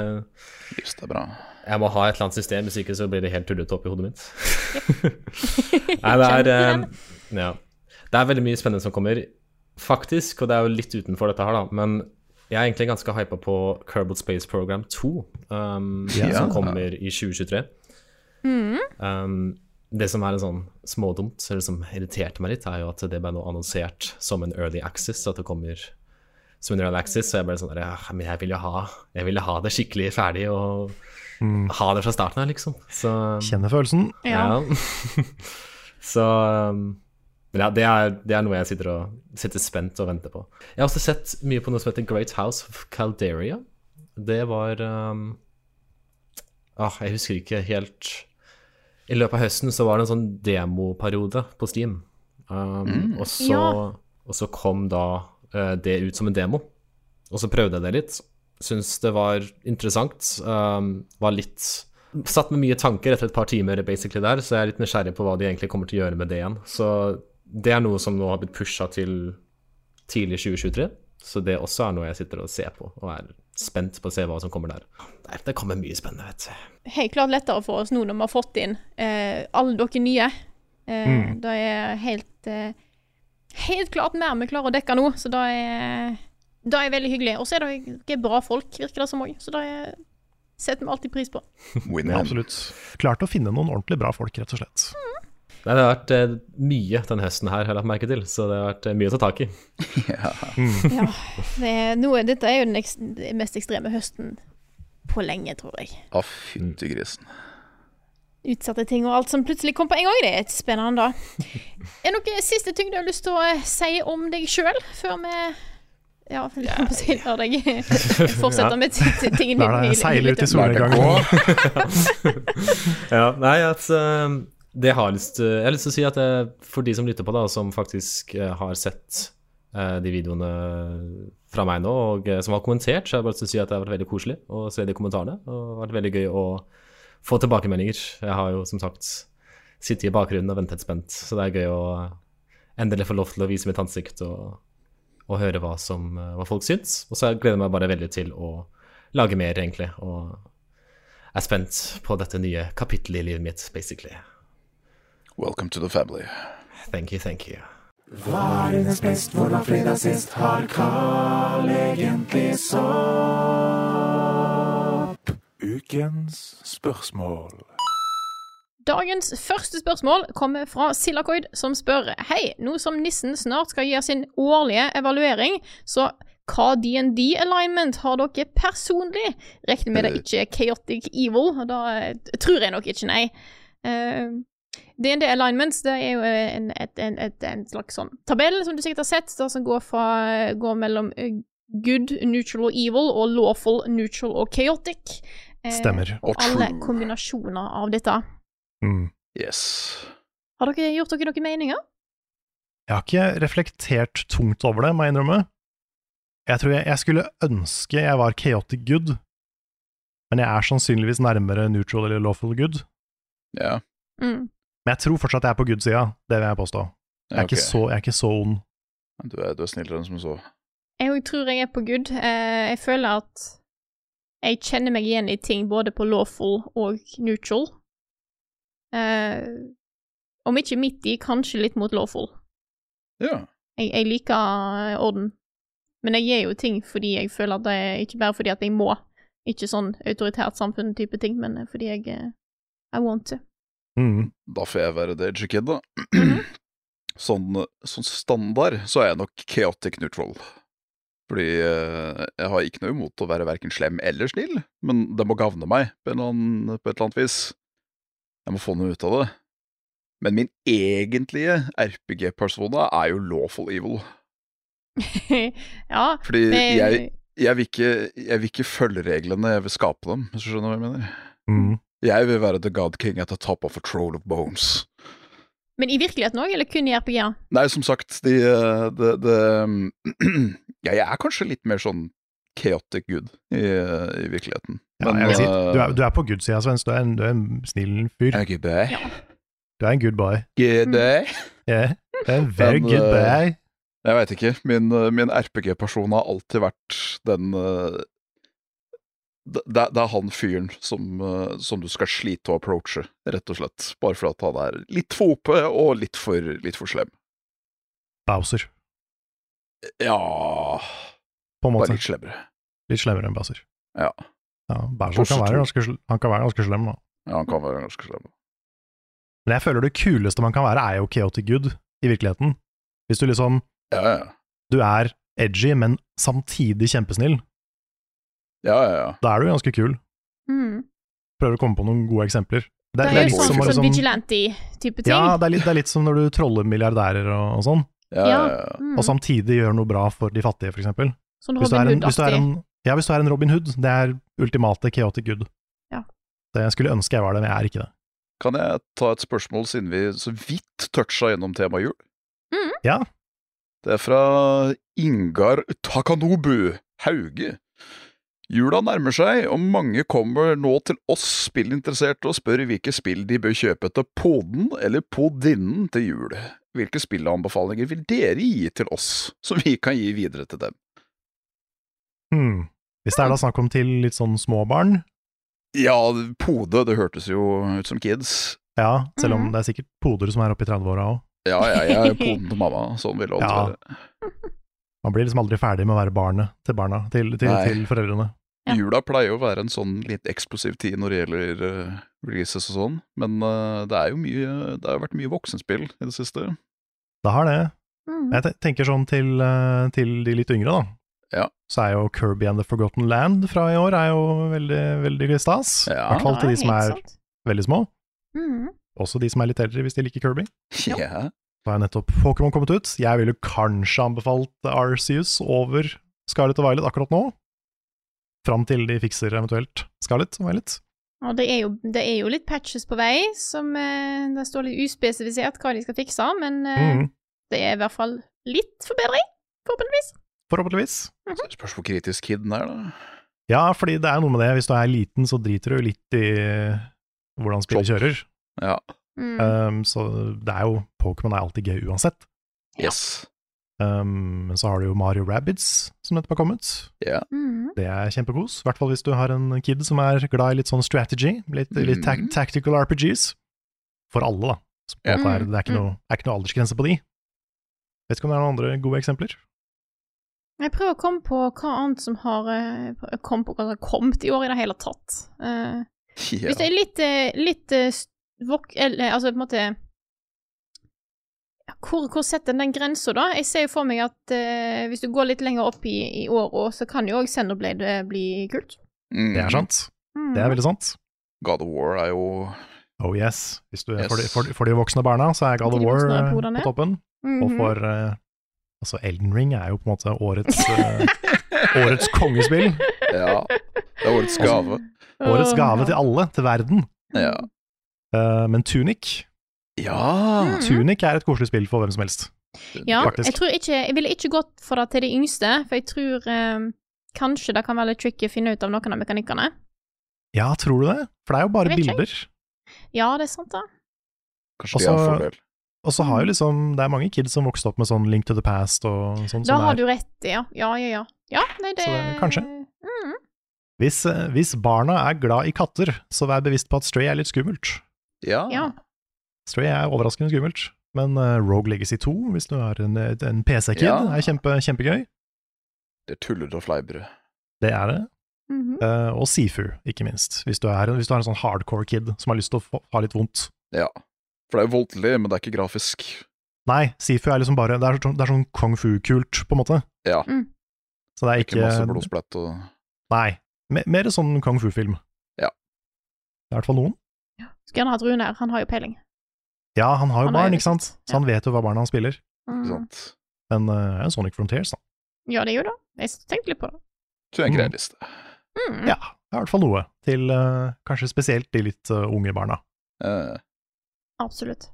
Speaker 6: Jeg,
Speaker 3: Lyst er bra.
Speaker 6: jeg må ha et eller annet system, hvis ikke så blir det helt tullete oppi hodet mitt. Nei, det er eh, Ja. Det er veldig mye spennende som kommer, faktisk, og det er jo litt utenfor dette her, da, men jeg er egentlig ganske hypa på Kerbal Space Program 2, um, som kommer i 2023.
Speaker 1: Mm,
Speaker 6: Um, det som er en sånn smådumt, eller som irriterte meg litt, er jo at det ble nå annonsert som en early access, at det kommer som en early access, så jeg ble sånn der, ja, men jeg vil jo ha, jeg vil ha det skikkelig ferdig, og
Speaker 2: Mm.
Speaker 6: ha det fra starten av, liksom. Så,
Speaker 2: Kjenner følelsen.
Speaker 1: Ja.
Speaker 6: ja. Så um, men ja, det er, det er noe jeg sitter, og, sitter spent og venter på. Jeg har også sett mye på noe som heter Great House of Calderia. Det var um, ah, Jeg husker ikke helt I løpet av høsten så var det en sånn demoperiode på Steam. Um, og, så,
Speaker 1: Ja.
Speaker 6: og så kom da eh, det ut som en demo. Og så prøvde jeg det litt. Syns det var interessant. Um, var litt Satt med mye tanker etter et par timer basically der, så jeg er litt nysgjerrig på hva de egentlig kommer til å gjøre med det igjen. Så det er noe som nå har blitt pusha til tidlig 2023. Så det også er noe jeg sitter og ser på, og er spent på å se hva som kommer der. Nei, Det kommer mye spennende, vet du.
Speaker 1: Helt klart lettere for oss nå når vi har fått inn eh, alle dere nye. Eh, Det er helt eh, Helt klart mer vi klarer å dekke nå, så det er, det er veldig hyggelig. Og så er dere bra folk, virker det som òg, så det er- setter vi alltid pris på.
Speaker 3: Win
Speaker 2: Absolutt. Klart å finne noen ordentlig bra folk, rett og slett.
Speaker 6: Nei, det har vært eh, mye den høsten her, har jeg lagt merke til, så det har vært eh, mye å ta tak i.
Speaker 1: Ja, det, er- nå, er- dette er jo den eks, den mest ekstreme høsten på lenge, tror jeg.
Speaker 3: Å, Ah, fytti grisen.
Speaker 1: Utsatte ting og alt som plutselig kom på en gang, det er spennende, da. Er det noen siste ting du har lyst til å eh, si om deg sjøl, før vi ja, jeg holdt på å si lar deg fortsette med t- t- tingen
Speaker 2: Lar deg
Speaker 1: hyl-
Speaker 2: seile
Speaker 1: hylet
Speaker 2: ut i
Speaker 1: opp.
Speaker 2: solnedgang.
Speaker 6: ja, nei, at eh, det har jeg lyst til Jeg har lyst til å si at eh, for de som lytter på, da, som faktisk eh, har sett eh, de videoene fra meg nå, og eh, som har kommentert, så har jeg bare lyst til å si at det har vært veldig koselig å se de kommentarene. Og det har vært veldig gøy å få tilbakemeldinger. Jeg har jo som sagt sittet i bakgrunnen og ventet spent, så det er gøy å endelig få lov til å vise mitt ansikt og, og høre hva, som, eh, hva folk syns. Og så gleder jeg meg bare veldig til å lage mer, egentlig. og er spent på dette nye kapittelet i livet mitt, basically.
Speaker 3: Welcome to the family.
Speaker 6: Thank you, thank you.
Speaker 4: Hva er dines best, hvordan fredag sist har Carl egentlig sopp? Ukens spørsmål.
Speaker 1: Dagens første spørsmål kommer fra Silakoid, som spør Hei, nå som nissen snart skal gjøre sin årlige evaluering, så hva DND-alignment har dere personlig? Regner med det ikke er Chaotic Evil, og da eh, tror jeg nok ikke, nei. Eh, DND-alignments det er jo eh, en, et, en, et, en slags sånn tabell som du sikkert har sett, da, som går, fra, går mellom eh, good, neutral og evil, og lawful, neutral og chaotic. Eh,
Speaker 2: Stemmer.
Speaker 3: Og
Speaker 1: Alle
Speaker 3: true.
Speaker 1: kombinasjoner av dette.
Speaker 2: Mm.
Speaker 3: Yes.
Speaker 1: Har dere gjort dere noen meninger?
Speaker 2: Jeg har ikke reflektert tungt over det, må jeg innrømme. Jeg tror jeg, jeg skulle ønske jeg var chaotic good, men jeg er sannsynligvis nærmere neutral eller lawful good.
Speaker 3: Ja,
Speaker 1: Mm.
Speaker 2: Men jeg tror fortsatt jeg er på good-sida, det vil jeg påstå. Jeg er,
Speaker 3: ja, ok.
Speaker 2: ikke, så, jeg er ikke så ond.
Speaker 3: du, er, du er snillere enn som så.
Speaker 1: Jeg òg tror jeg er på good. Eh, jeg føler at jeg kjenner meg igjen i ting både på lawful og neutral. Eh, om ikke midt i, kanskje litt mot lawful.
Speaker 3: Ja.
Speaker 1: Jeg, jeg liker eh, orden. Men jeg gjør jo ting fordi jeg føler at det er ikke bare fordi at jeg må. Ikke sånn autoritært samfunn-type ting, men eh, fordi jeg eh, I want to.
Speaker 2: Mm.
Speaker 3: Da får jeg være Dager Kid, da.
Speaker 2: Mhm.
Speaker 3: Sånn, sånn standard så er jeg nok chaotic neutral. Fordi eh, jeg har ikke noe imot å være verken slem eller snill, men det må gagne meg på, en eller annen, på et eller annet vis. Jeg må få noe ut av det. Men min egentlige RPG-persona er jo lawful evil.
Speaker 1: ja.
Speaker 3: Fordi
Speaker 1: det-
Speaker 3: jeg, jeg, vil ikke, jeg vil ikke følge reglene, jeg vil skape dem, hvis du skjønner hva jeg mener.
Speaker 2: Mm.
Speaker 3: Jeg vil være the god king at the top of a troll of bones.
Speaker 1: Men i virkeligheten òg, eller kun i RPG-er?
Speaker 3: Nei, som sagt, de, eh, det- det- ja, jeg er kanskje litt mer sånn chaotic good i, i virkeligheten.
Speaker 2: Ja, jeg vil si,
Speaker 3: eh,
Speaker 2: du, er, du er på good-sida, Svens. Du er en, du er en snill fyr.
Speaker 3: er ikke bad.
Speaker 2: Du er en good boy.
Speaker 3: Ikke det.
Speaker 2: Yeah. Du er en very
Speaker 3: Men,
Speaker 2: good
Speaker 3: eh,
Speaker 2: boy.
Speaker 3: Jeg veit ikke. Min, eh, min RPG-person har alltid vært den eh, det, det det er han fyren som, eh, som du skal slite å approache, rett og slett. Bare fordi at han er litt for OP og litt for, litt for slem.
Speaker 2: Bowser,
Speaker 3: Ja
Speaker 2: på en
Speaker 3: Bare
Speaker 2: måte.
Speaker 3: litt slemmere.
Speaker 2: Litt slemmere enn Bowser.
Speaker 3: Ja.
Speaker 2: Ja, Bowser
Speaker 3: Bowser
Speaker 2: kan
Speaker 3: to.
Speaker 2: være, ganske, sl- han kan være ganske slem, da.
Speaker 3: Ja, han kan være ganske slem.
Speaker 2: Men jeg føler det kuleste man kan være, er jo chaotic good i virkeligheten. Hvis du liksom
Speaker 3: Ja, ja,
Speaker 2: Du er edgy, men samtidig kjempesnill.
Speaker 3: ja. ja, ja.
Speaker 2: Da er du ganske kul.
Speaker 1: Mm.
Speaker 2: Prøver å komme på noen gode eksempler.
Speaker 1: Det
Speaker 3: det
Speaker 1: er
Speaker 3: er
Speaker 1: jo
Speaker 3: litt
Speaker 1: sånn,
Speaker 3: som å
Speaker 1: sånn
Speaker 2: liksom-
Speaker 1: vigilante-type ting.
Speaker 2: Ja, det er, litt, det er litt som når du troller milliardærer og, og sånn,
Speaker 3: ja, ja, ja.
Speaker 1: Mm.
Speaker 2: og samtidig gjør noe bra for de fattige, for eksempel.
Speaker 1: sånn
Speaker 2: Hvis du er
Speaker 1: Robin
Speaker 2: en, hvis du er
Speaker 1: Hood-aktig.
Speaker 2: en, ja, hvis du er en Robin Hood, det er ultimate chaotic good.
Speaker 1: Ja.
Speaker 2: Det jeg skulle ønske jeg var det, men jeg er ikke det.
Speaker 3: Kan jeg ta et spørsmål siden vi så vidt toucha gjennom temaet jul?
Speaker 1: Mhm.
Speaker 2: Ja.
Speaker 3: Det er fra Ingar Takanobu Hauge. Jula nærmer seg, og mange kommer nå til oss spillinteresserte og spør hvilke spill de bør kjøpe til poden eller podinnen til jul. Hvilke spillanbefalinger vil dere gi til oss, som vi kan gi videre til dem?
Speaker 2: Hmm. Hvis det er da
Speaker 1: Mm.
Speaker 2: snakk om til litt sånn små barn,
Speaker 3: Ja, pode, det hørtes jo ut som kids.
Speaker 2: ja, selv om
Speaker 1: Mhm.
Speaker 2: det er sikkert poder som er oppe i 30-åra òg.
Speaker 3: Ja, ja, jeg er poden til mamma, sånn vil det alltid
Speaker 2: Ja.
Speaker 3: være.
Speaker 2: Man blir liksom aldri ferdig med å være barnet til barna, til, til,
Speaker 3: Nei.
Speaker 2: til foreldrene.
Speaker 1: Ja.
Speaker 3: Jula pleier jo å være en sånn litt eksplosiv tid når det gjelder eh, releases og sånn, men eh, det er jo mye Det har jo vært mye voksenspill i det siste.
Speaker 2: Det har det.
Speaker 1: Mm.
Speaker 2: Jeg te- tenker sånn til, eh, til de litt yngre, da.
Speaker 3: Ja.
Speaker 2: Så er jo Kirby and the Forgotten Land fra i år er jo veldig, veldig stas. I
Speaker 3: Ja.
Speaker 2: hvert fall til de som er
Speaker 1: sant.
Speaker 2: veldig små.
Speaker 1: Mhm.
Speaker 2: Også de som er litt eldre, hvis de liker Kirby.
Speaker 3: Ja.
Speaker 2: Da er nettopp Pokémon kommet ut. Jeg ville kanskje anbefalt Arceus over Scarlett og Violet akkurat nå. Fram til de fikser eventuelt Scarlett og Violet.
Speaker 1: Og det er, jo, det er jo litt patches på vei, som eh, det står litt uspesifisert hva de skal fikse, men eh,
Speaker 2: Mhm.
Speaker 1: det er i hvert fall litt forbedring, forhåpentligvis.
Speaker 2: Forhåpentligvis.
Speaker 3: Så Spørs hvor kritisk kiden er, da.
Speaker 2: Ja, fordi det er noe med det. Hvis du er liten, så driter du litt i hvordan spillet
Speaker 3: Topp.
Speaker 2: kjører.
Speaker 3: Ja.
Speaker 1: Mm.
Speaker 2: Um, så det er jo Pokémon er alltid gøy uansett.
Speaker 3: Yes.
Speaker 2: Um, men så har du jo Mario Rabbids som nettopp har kommet.
Speaker 1: Mhm.
Speaker 2: Det er kjempekos. I hvert fall hvis du har en kid som er glad i litt sånn strategy. Litt, litt tac-
Speaker 3: Mm.
Speaker 2: tactical RPGs. For alle, da. Så på en måte
Speaker 1: Ja.
Speaker 2: er, det- det er ikke,
Speaker 1: Mm.
Speaker 2: noe, er ikke noe aldersgrense på de. Vet ikke om det er noen andre gode eksempler.
Speaker 1: Jeg prøver å komme på hva annet som har eh, kom på hva som har kommet i år i det hele tatt. Eh,
Speaker 3: Ja.
Speaker 1: Hvis det er litt, eh, litt eh, s- vok eller, Altså på en måte Ja, hvor, hvor setter en den grensa, da? Jeg ser jo for meg at eh, hvis du går litt lenger opp i, i åra, så kan jo òg Xenoblade eh, bli kult. Mm.
Speaker 3: Mm.
Speaker 2: Det er sant. Det er veldig sant.
Speaker 3: God of War er jo
Speaker 2: Oh yes. Hvis du,
Speaker 3: Yes.
Speaker 2: For, de, for, de- for de voksne barna så er God of
Speaker 1: De
Speaker 2: War
Speaker 1: voksne
Speaker 2: eh,
Speaker 1: brorene.
Speaker 2: på toppen.
Speaker 1: Mhm.
Speaker 2: Og for eh, Altså, Elden Ring er jo på en måte årets, eh, årets kongespill.
Speaker 3: Ja. Det er årets gave.
Speaker 2: Årets
Speaker 1: Åh,
Speaker 2: gave
Speaker 1: ja.
Speaker 2: til alle, til verden.
Speaker 3: Ja.
Speaker 2: Eh, men Tunic
Speaker 3: ja.
Speaker 1: Mhm.
Speaker 2: Tunic er et koselig spill for hvem som helst.
Speaker 1: Ja,
Speaker 2: faktisk.
Speaker 1: jeg, tror ikke, jeg ville ikke gått for det til de yngste, for jeg tror eh, kanskje det kan være litt tricky å finne ut av noen av mekanikkene.
Speaker 2: Ja, tror du det? For det er jo bare
Speaker 1: Jeg vet ikke.
Speaker 2: bilder.
Speaker 1: Ja, det er sant, da.
Speaker 3: Kanskje det er en
Speaker 2: Også-
Speaker 3: fordel.
Speaker 2: Og så har
Speaker 1: Mhm.
Speaker 2: jo liksom Det er mange kids som vokste opp med sånn Link to the Past og sånn.
Speaker 1: Da
Speaker 2: som
Speaker 1: har
Speaker 2: er-
Speaker 1: du rett i, ja. Ja, ja, ja. ja nei, det,
Speaker 2: Så det- kanskje.
Speaker 1: Mm.
Speaker 2: hvis, eh, hvis barna er glad i katter, så vær bevisst på at Stray er litt skummelt.
Speaker 3: Ja.
Speaker 1: Ja.
Speaker 2: Stray er overraskende skummelt. Men eh, Rogue Legacy 2, hvis du har en, en PC-kid,
Speaker 3: Ja.
Speaker 2: er kjempe, kjempegøy.
Speaker 3: Det tuller og fleiber.
Speaker 2: Det er det.
Speaker 1: Mhm.
Speaker 2: Eh, og Sifu, ikke minst. Hvis du, er en, hvis du har en sånn hardcore kid som har lyst til å få, ha litt vondt.
Speaker 3: Ja. For det er jo voldelig, men det er ikke grafisk.
Speaker 2: Nei, Sifu er liksom bare Det er, sånn- det er sånn kung fu-kult, på en måte.
Speaker 3: Ja.
Speaker 1: Mm.
Speaker 2: Så det er
Speaker 3: Ikke masse
Speaker 2: ikke
Speaker 3: blodsplett og
Speaker 2: Nei. me- Mer sånn kung fu-film.
Speaker 3: Ja.
Speaker 2: Det er i hvert fall noen.
Speaker 1: Skulle gjerne hatt Rune her, han har jo peiling.
Speaker 2: Ja, han har jo
Speaker 1: Han er
Speaker 2: barn,
Speaker 1: jo liksom-
Speaker 2: ikke sant?
Speaker 1: ja.
Speaker 2: Så han vet jo hva barna han spiller.
Speaker 1: Mm.
Speaker 3: ikke sant.
Speaker 2: Men eh, det er Sonic Frontiers, da.
Speaker 1: Ja, det er jo det. Jeg tenkte litt på det.
Speaker 3: Tror jeg er en
Speaker 2: Mm.
Speaker 3: grei liste.
Speaker 1: Mm.
Speaker 2: Ja, det er i hvert fall noe. Til eh, kanskje spesielt de litt eh, unge barna.
Speaker 3: Eh,
Speaker 1: Absolutt.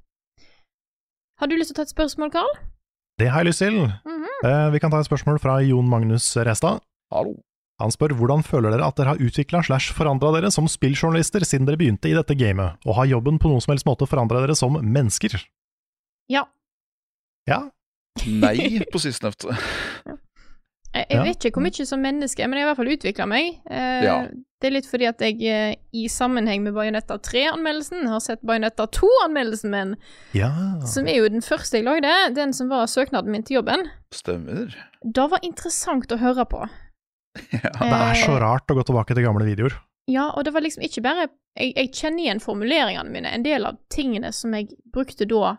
Speaker 1: Har du lyst til å ta et spørsmål, Karl?
Speaker 2: Det har jeg lyst til.
Speaker 1: Mhm.
Speaker 2: Eh, vi kan ta et spørsmål fra Jon Magnus Restad.
Speaker 3: hallo.
Speaker 2: Han spør hvordan føler dere at dere har utvikla slash forandra dere som spilljournalister siden dere begynte i dette gamet, og har jobben på noen som helst måte forandra dere som mennesker?
Speaker 1: Ja.
Speaker 2: Ja,
Speaker 3: Nei på sistnevnte.
Speaker 1: Jeg, jeg
Speaker 2: Ja.
Speaker 1: vet ikke hvor mye som menneske, men jeg har i hvert fall utvikla meg. Eh,
Speaker 3: Ja.
Speaker 1: Det er litt fordi at jeg eh, i sammenheng med Bajonetta 3-anmeldelsen har sett Bajonetta 2-anmeldelsen min,
Speaker 2: ja.
Speaker 1: som er jo den første jeg lagde, den som var søknaden min til jobben.
Speaker 3: Stemmer.
Speaker 1: Det var interessant å høre på.
Speaker 3: Ja.
Speaker 2: Det er så rart å gå tilbake til gamle videoer.
Speaker 1: Ja, og det var liksom ikke bare Jeg, jeg kjenner igjen formuleringene mine. En del av tingene som jeg brukte da,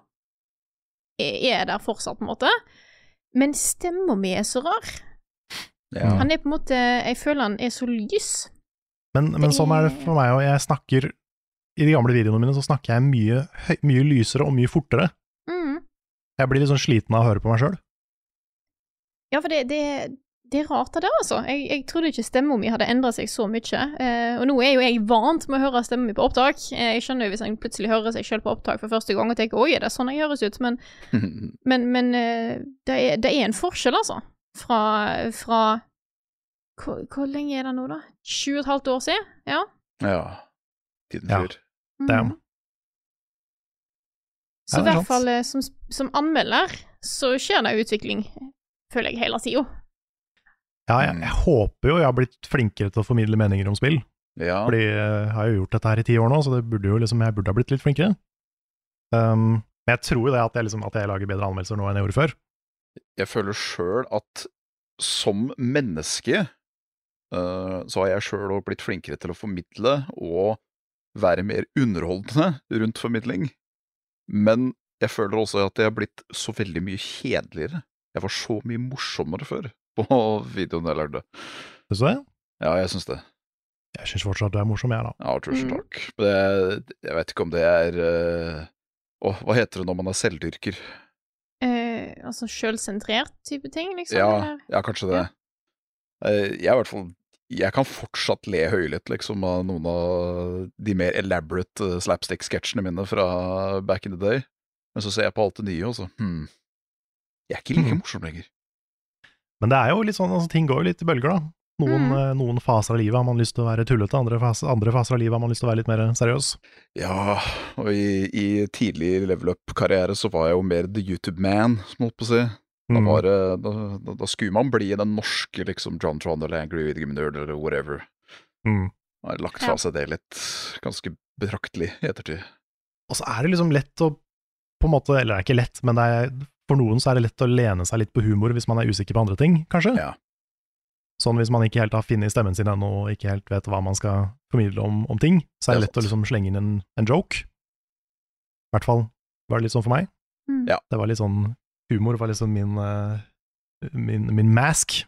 Speaker 1: er er der fortsatt, på en måte. Men stemma mi er så rar.
Speaker 3: ja.
Speaker 1: Han er på en måte Jeg føler han er så lys.
Speaker 2: Men, men sånn er det for meg òg. Jeg snakker I de gamle videoene mine så snakker jeg mye, høy, mye lysere og mye fortere.
Speaker 1: Mm.
Speaker 2: Jeg blir litt sånn sliten av å høre på meg sjøl.
Speaker 1: Ja, for det, det, det er rart, det der, altså. Jeg, jeg trodde ikke stemma mi hadde endra seg så mye. Eh, og nå er jo jeg vant med å høre stemma mi på opptak. Eh, jeg skjønner jo hvis en plutselig hører seg sjøl på opptak for første gang og tenker 'oi, er det sånn jeg høres ut?' Men Men, men eh, det, er, det er en forskjell, altså. Fra, fra hvor, hvor lenge er det nå, da? Sju og et halvt år siden? Ja.
Speaker 3: ja. Tiden
Speaker 2: Ja.
Speaker 3: flyr.
Speaker 1: Mhm.
Speaker 2: Damn.
Speaker 1: Så
Speaker 2: Ja,
Speaker 1: i
Speaker 2: det er sant.
Speaker 1: hvert fall eh, som, som anmelder så skjer det utvikling, føler jeg, hele tida.
Speaker 2: Ja, jeg, jeg håper jo jeg har blitt flinkere til å formidle meninger om spill.
Speaker 3: Ja.
Speaker 2: Fordi eh, jeg har jo gjort dette her i ti år nå, så det burde jo liksom, jeg burde ha blitt litt flinkere. Um, men jeg tror jo det at jeg, liksom, at jeg lager bedre anmeldelser nå enn jeg gjorde før.
Speaker 3: jeg føler sjøl at som menneske eh, så har jeg sjøl òg blitt flinkere til å formidle og være mer underholdende rundt formidling. Men jeg føler også at jeg har blitt så veldig mye kjedeligere. Jeg var så mye morsommere før, på videoen jeg lagde.
Speaker 2: Syns du det?
Speaker 3: Ja, jeg syns det.
Speaker 2: Jeg syns fortsatt du er morsom, jeg, da.
Speaker 3: Ja, tusen takk. Men jeg, jeg vet ikke om det er eh, Åh, hva heter det når man er selvdyrker?
Speaker 1: Eh, altså sjølsentrert type ting, liksom?
Speaker 3: Ja,
Speaker 1: eller?
Speaker 3: ja kanskje det. Eh, Jeg er i hvert fall Jeg kan fortsatt le høylytt, liksom, av noen av de mer elaborate eh, slapstick-sketsjene mine fra back in the day. Men så ser jeg på alt det nye, og så hm. Jeg er ikke like
Speaker 2: Mhm.
Speaker 3: morsom lenger.
Speaker 2: Men det er jo litt sånn, altså, ting går jo litt i bølger, da. Noen,
Speaker 1: Mm.
Speaker 2: eh, noen faser av livet har man lyst til å være tullete, andre, fas, andre faser av livet har man lyst til å være litt mer seriøs.
Speaker 3: Ja, og i, i tidlig level up-karriere så var jeg jo mer the YouTube-man, som holdt på å si. Da,
Speaker 2: Mm.
Speaker 3: var, det- da, da, da skulle man bli den norske liksom John Tron eller Angry Video Game Nerd eller whatever.
Speaker 2: Mm.
Speaker 3: Jeg har lagt
Speaker 1: Ja.
Speaker 3: fra seg det litt ganske betraktelig i ettertid.
Speaker 2: Og så er det liksom lett å på en måte, eller det er ikke lett, men det er, for noen så er det lett å lene seg litt på humor hvis man er usikker på andre ting, kanskje.
Speaker 3: Ja.
Speaker 2: Sånn hvis man ikke helt har funnet stemmen sin ennå og ikke helt vet hva man skal formidle om, om ting, så er det
Speaker 3: Det er
Speaker 2: lett å liksom slenge inn en, en joke. I hvert fall var det litt sånn for meg.
Speaker 1: Mm.
Speaker 3: Ja.
Speaker 2: Det var litt sånn Humor var liksom min, eh, min, min mask.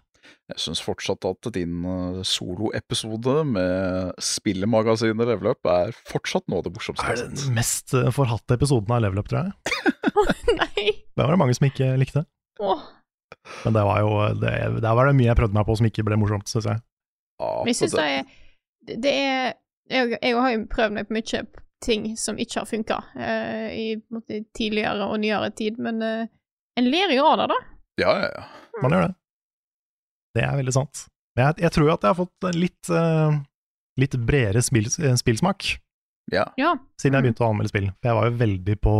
Speaker 3: Jeg syns fortsatt at din eh, soloepisode med spillemagasinet Level Up er fortsatt noe av det morsomste
Speaker 2: Er
Speaker 3: jeg
Speaker 2: det
Speaker 3: har sett.
Speaker 2: den mest eh, forhatte episoden av Level Up, tror jeg.
Speaker 1: Nei!
Speaker 2: Det var det mange som ikke likte.
Speaker 1: Åh.
Speaker 2: Men det var jo, eh, det, der var det mye jeg prøvde meg på som ikke ble morsomt, syns jeg.
Speaker 3: Ja,
Speaker 1: Men jeg syns
Speaker 3: så
Speaker 1: det er Det det er jeg, jeg har jo prøvd meg på mye ting som ikke har funka i på en måte, tidligere og nyere tid, men eh, en ler jo av det, da.
Speaker 3: Ja, ja, ja.
Speaker 2: Man gjør det. Det er veldig sant. Men jeg, jeg tror jo at jeg har fått en litt, eh, litt bredere spill, eh, spillsmak
Speaker 3: ja.
Speaker 1: Ja.
Speaker 2: siden jeg
Speaker 1: Mm.
Speaker 2: begynte å anmelde spill. For jeg var jo veldig på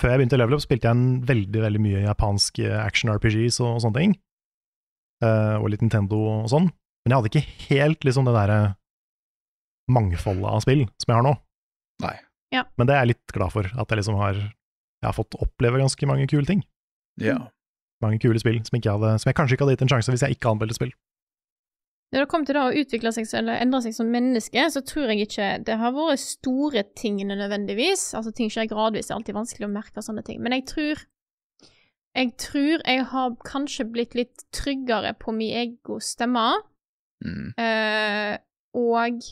Speaker 2: Før jeg begynte i Level Up, spilte jeg en veldig veldig mye japansk eh, action RPGs og, og sånne ting. Eh, og litt Nintendo og sånn. Men jeg hadde ikke helt liksom det derre mangfoldet av spill som jeg har nå.
Speaker 3: Nei.
Speaker 1: Ja.
Speaker 2: Men det er jeg litt glad for, at jeg liksom har, jeg har fått oppleve ganske mange kule ting.
Speaker 3: ja.
Speaker 2: Mange kule spill som, ikke hadde, som jeg kanskje ikke hadde gitt en sjanse hvis jeg ikke anmeldte spill.
Speaker 1: Når det kommer til det å utvikle seg eller endre seg som menneske, så tror jeg ikke det har vært store tingene nødvendigvis. Altså ting skjer gradvis, det er alltid vanskelig å merke sånne ting. Men jeg tror Jeg tror jeg har kanskje blitt litt tryggere på min ego stemme.
Speaker 3: Mm.
Speaker 1: Eh, og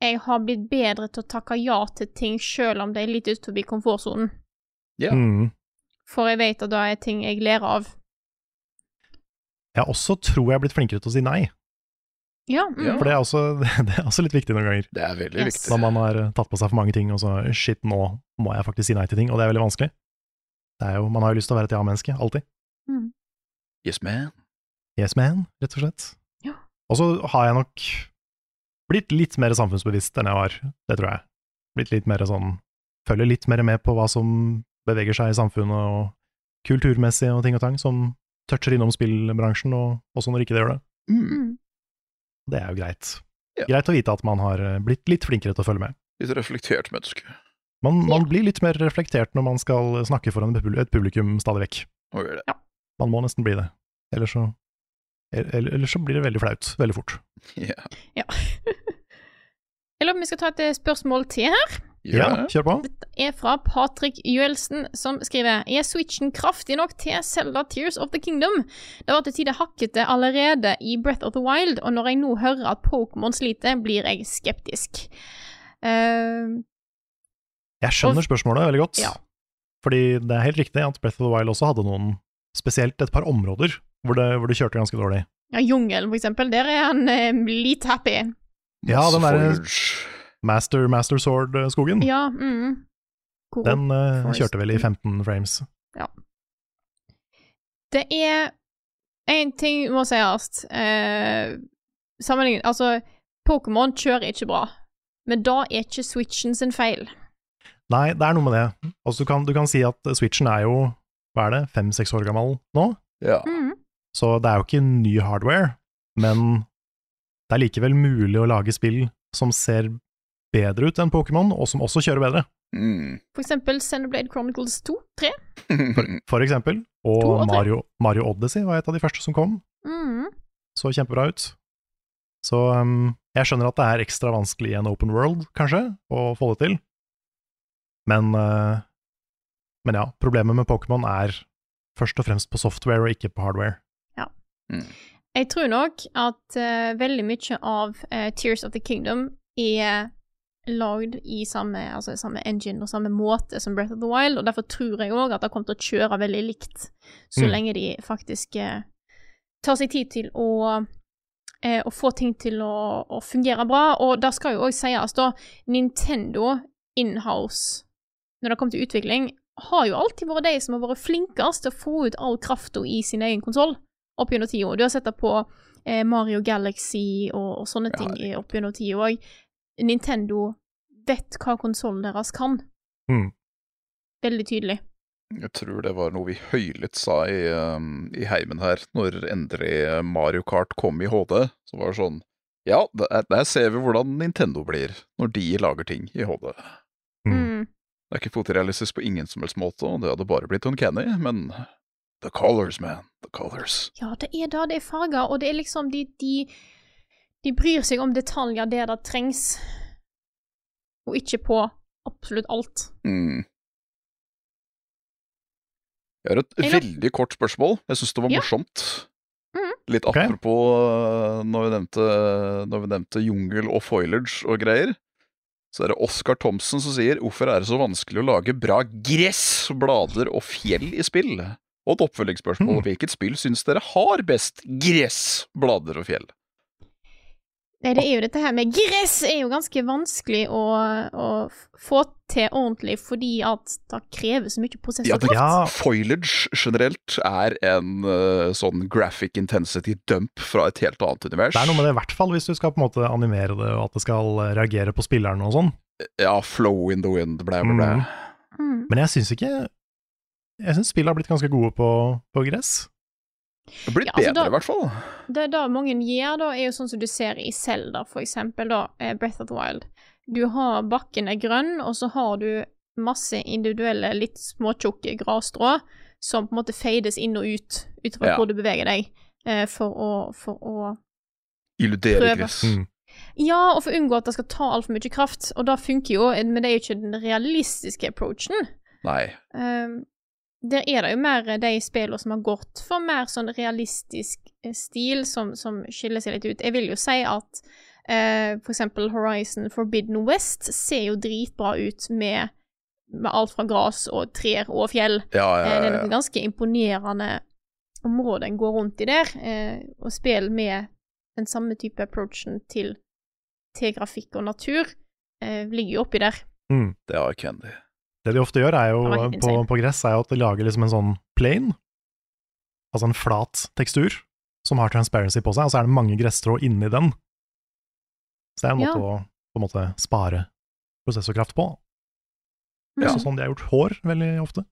Speaker 1: jeg har blitt bedre til å takke ja til ting sjøl om det er litt utenfor komfortsonen.
Speaker 3: Ja.
Speaker 2: Mm.
Speaker 1: For jeg vet at det er ting jeg ler av.
Speaker 2: Jeg har også, tror jeg, blitt flinkere til å si nei.
Speaker 1: Ja. Mm.
Speaker 3: Ja.
Speaker 2: For det er også, det er også litt viktig noen ganger.
Speaker 3: Det er veldig
Speaker 1: Yes.
Speaker 2: Når
Speaker 3: viktig.
Speaker 2: man har eh, tatt på seg for mange ting, og så shit, nå må jeg faktisk si nei til ting, og det er veldig vanskelig. Det er jo, man har jo lyst til å være et ja-menneske, alltid.
Speaker 1: Mm.
Speaker 3: Yes, man.
Speaker 2: Yes man, rett og slett.
Speaker 1: Ja.
Speaker 2: Og så har jeg nok blitt litt mer samfunnsbevisst enn jeg var, det tror jeg. Blitt litt mer sånn, følger litt mer med på hva som beveger seg i samfunnet, og kulturmessig og ting og tang, som toucher innom spillbransjen, og også når ikke det gjør det.
Speaker 3: Mm.
Speaker 1: Mm.
Speaker 2: Det er jo greit.
Speaker 3: Ja.
Speaker 2: Greit å vite at man har eh, blitt litt flinkere til å følge med.
Speaker 3: Litt reflektert menneske.
Speaker 2: Man, man blir litt mer reflektert når man skal snakke foran et publi- et publikum stadig vekk.
Speaker 3: Må gjøre det.
Speaker 2: Man må nesten bli det. Ellers så, eller, eller så blir det veldig flaut, veldig fort.
Speaker 3: Ja.
Speaker 1: Jeg lurer på om vi skal ta et eh, spørsmål til her.
Speaker 3: Gjør
Speaker 2: ja,
Speaker 3: det.
Speaker 2: kjør på.
Speaker 1: Er fra Patrick Juelsen, som skriver Er switchen kraftig nok til Selda Tears of the Kingdom? Det var til tider hakkete allerede i Breath of the Wild, og når jeg nå hører at Pokémon sliter, blir jeg skeptisk. Eh,
Speaker 2: Jeg skjønner
Speaker 1: Og-
Speaker 2: spørsmålet veldig godt.
Speaker 1: Ja.
Speaker 2: Fordi det er helt riktig at Breath of the Wild også hadde noen, spesielt et par områder, hvor det, hvor det kjørte ganske dårlig.
Speaker 1: ja, Jungelen, for eksempel. Der er han eh, litt happy.
Speaker 2: Ja, den
Speaker 3: Masse
Speaker 2: derre-
Speaker 3: forge.
Speaker 2: Master, Master Sword-skogen,
Speaker 1: Ja. Mm. Hvor-
Speaker 2: den eh,
Speaker 1: Forest.
Speaker 2: kjørte vel i 15 frames.
Speaker 1: Det er én ting må sies. Eh, sammenlignet Altså, Pokémon kjører ikke bra, men da er ikke Switchen sin feil.
Speaker 2: Nei, det er noe med det. Altså, du, kan, du kan si at Switchen er jo, hva er det, fem-seks år gammel nå?
Speaker 3: Ja.
Speaker 1: Mm.
Speaker 2: Så det er jo ikke ny hardware, men det er likevel mulig å lage spill som ser bedre ut enn Pokémon, og som også kjører bedre,
Speaker 3: Mm.
Speaker 1: For eksempel Xenoblade Chronicles 2, 3.
Speaker 2: for eksempel. Og,
Speaker 1: To og tre.
Speaker 2: Mario, Mario Odyssey var et av de første som kom,
Speaker 1: Mm.
Speaker 2: så kjempebra ut. Så um, jeg skjønner at det er ekstra vanskelig i en open world, kanskje, å få det til. Men, uh, men ja, problemet med Pokémon er Først og fremst på software og ikke på hardware.
Speaker 1: Jeg tror nok at eh, veldig mye av eh, Tears of the Kingdom er lagd i samme, altså, samme engine og samme måte som Breath of the Wild, og derfor tror jeg òg at det kommer til å kjøre veldig likt, så
Speaker 2: Mm.
Speaker 1: lenge de faktisk eh, tar seg tid til å eh, å få ting til å, å fungere bra. Og det skal jo òg sies, da, Nintendo inhouse, når det kommer til utvikling, har jo alltid vært de som har vært flinkest til å få ut all krafta i sin egen konsoll opp gjennom tida. Du har sett det på eh, Mario Galaxy og, og sånne ting eh, opp gjennom tida òg. Nintendo vet hva konsollen deres kan.
Speaker 2: Mm.
Speaker 1: Veldig tydelig.
Speaker 3: Jeg tror det var noe vi høylytt sa i, um, i heimen her, når endelig Mario Kart kom i HD. Så var det sånn Ja, der, der ser vi hvordan Nintendo blir når de lager ting i HD.
Speaker 2: Mm.
Speaker 1: Mm.
Speaker 3: Det er ikke fotorealistisk på ingen som helst måte, og det hadde bare blitt uncanny, men The colors, man. The colors.
Speaker 1: Ja, det er det. Det er farger, og det er liksom de, de De bryr seg om detaljer der det trengs, og ikke på absolutt alt.
Speaker 3: Mm. Jeg har et
Speaker 1: Eller-
Speaker 3: veldig kort spørsmål. Jeg syns det var
Speaker 1: Ja.
Speaker 3: morsomt.
Speaker 1: Mhm.
Speaker 3: Litt
Speaker 2: Ok.
Speaker 3: apropos øh, når vi, nevnte, når vi nevnte jungel og foliage og greier. Så er det Oskar Thomsen som sier 'Hvorfor er det så vanskelig å lage bra gress, blader og fjell i spill?' Og et oppfølgingsspørsmål
Speaker 2: Mhm.
Speaker 3: Hvilket spill syns dere har best gress, blader og fjell?
Speaker 1: Nei, det er jo dette her med gress er jo ganske vanskelig å, å f- få til ordentlig, fordi at det krever så mye
Speaker 3: Ja, det,
Speaker 1: prosessorkraft.
Speaker 2: Ja.
Speaker 3: Foliage generelt er en eh, sånn graphic intensity dump fra et helt annet univers.
Speaker 2: Det er noe med det, i hvert fall hvis du skal på en måte animere det, og at det skal eh, reagere på spilleren og sånn.
Speaker 3: Ja, flow in the wind, blæ, blæ, blæ.
Speaker 2: Mm.
Speaker 1: Mm.
Speaker 2: Men jeg syns ikke Jeg syns spillet har blitt ganske gode på, på gress.
Speaker 3: Det blir
Speaker 1: Ja, altså,
Speaker 3: bedre,
Speaker 1: da-
Speaker 3: i hvert fall.
Speaker 1: Det er det mange gjør, da, er jo sånn som du ser i Zelda, for eksempel, da, eh, Breath of the Wild. Du har bakken er grønn, og så har du masse individuelle, litt småtjukke grasstrå som på en måte fades inn og ut, ut fra
Speaker 3: Ja.
Speaker 1: hvor du beveger deg, eh, for å, for å
Speaker 3: Illudere
Speaker 1: Prøve.
Speaker 3: gress.
Speaker 2: Mm.
Speaker 1: Ja, og for å unngå at det skal ta altfor mye kraft. Og det funker jo, eh, men det er jo ikke den realistiske approachen.
Speaker 3: Nei.
Speaker 1: Um, der er det jo mer eh, de spillene som har gått for mer sånn realistisk eh, stil, som, som skiller seg litt ut. Jeg vil jo si at eh, for eksempel Horizon Forbidden West ser jo dritbra ut med, med alt fra gras og trær og fjell.
Speaker 3: Ja, ja,
Speaker 1: Eh, Det er
Speaker 3: ja,
Speaker 1: noen
Speaker 3: ja.
Speaker 1: ganske imponerende områder en går rundt i der, eh, og spill med den samme type approachen til, til grafikk og natur eh, ligger jo oppi der.
Speaker 2: Mm.
Speaker 3: Det har Candy.
Speaker 2: Det de ofte gjør er jo,
Speaker 1: Det var helt
Speaker 2: på,
Speaker 1: insane.
Speaker 2: på gress, er jo at de lager liksom en sånn plane, altså en flat tekstur, som har transparency på seg, og så er det mange gresstrå inni den. Så det er en
Speaker 1: Ja.
Speaker 2: måte å på en måte spare prosessorkraft på.
Speaker 3: Ja.
Speaker 2: Så sånn de har gjort hår veldig ofte.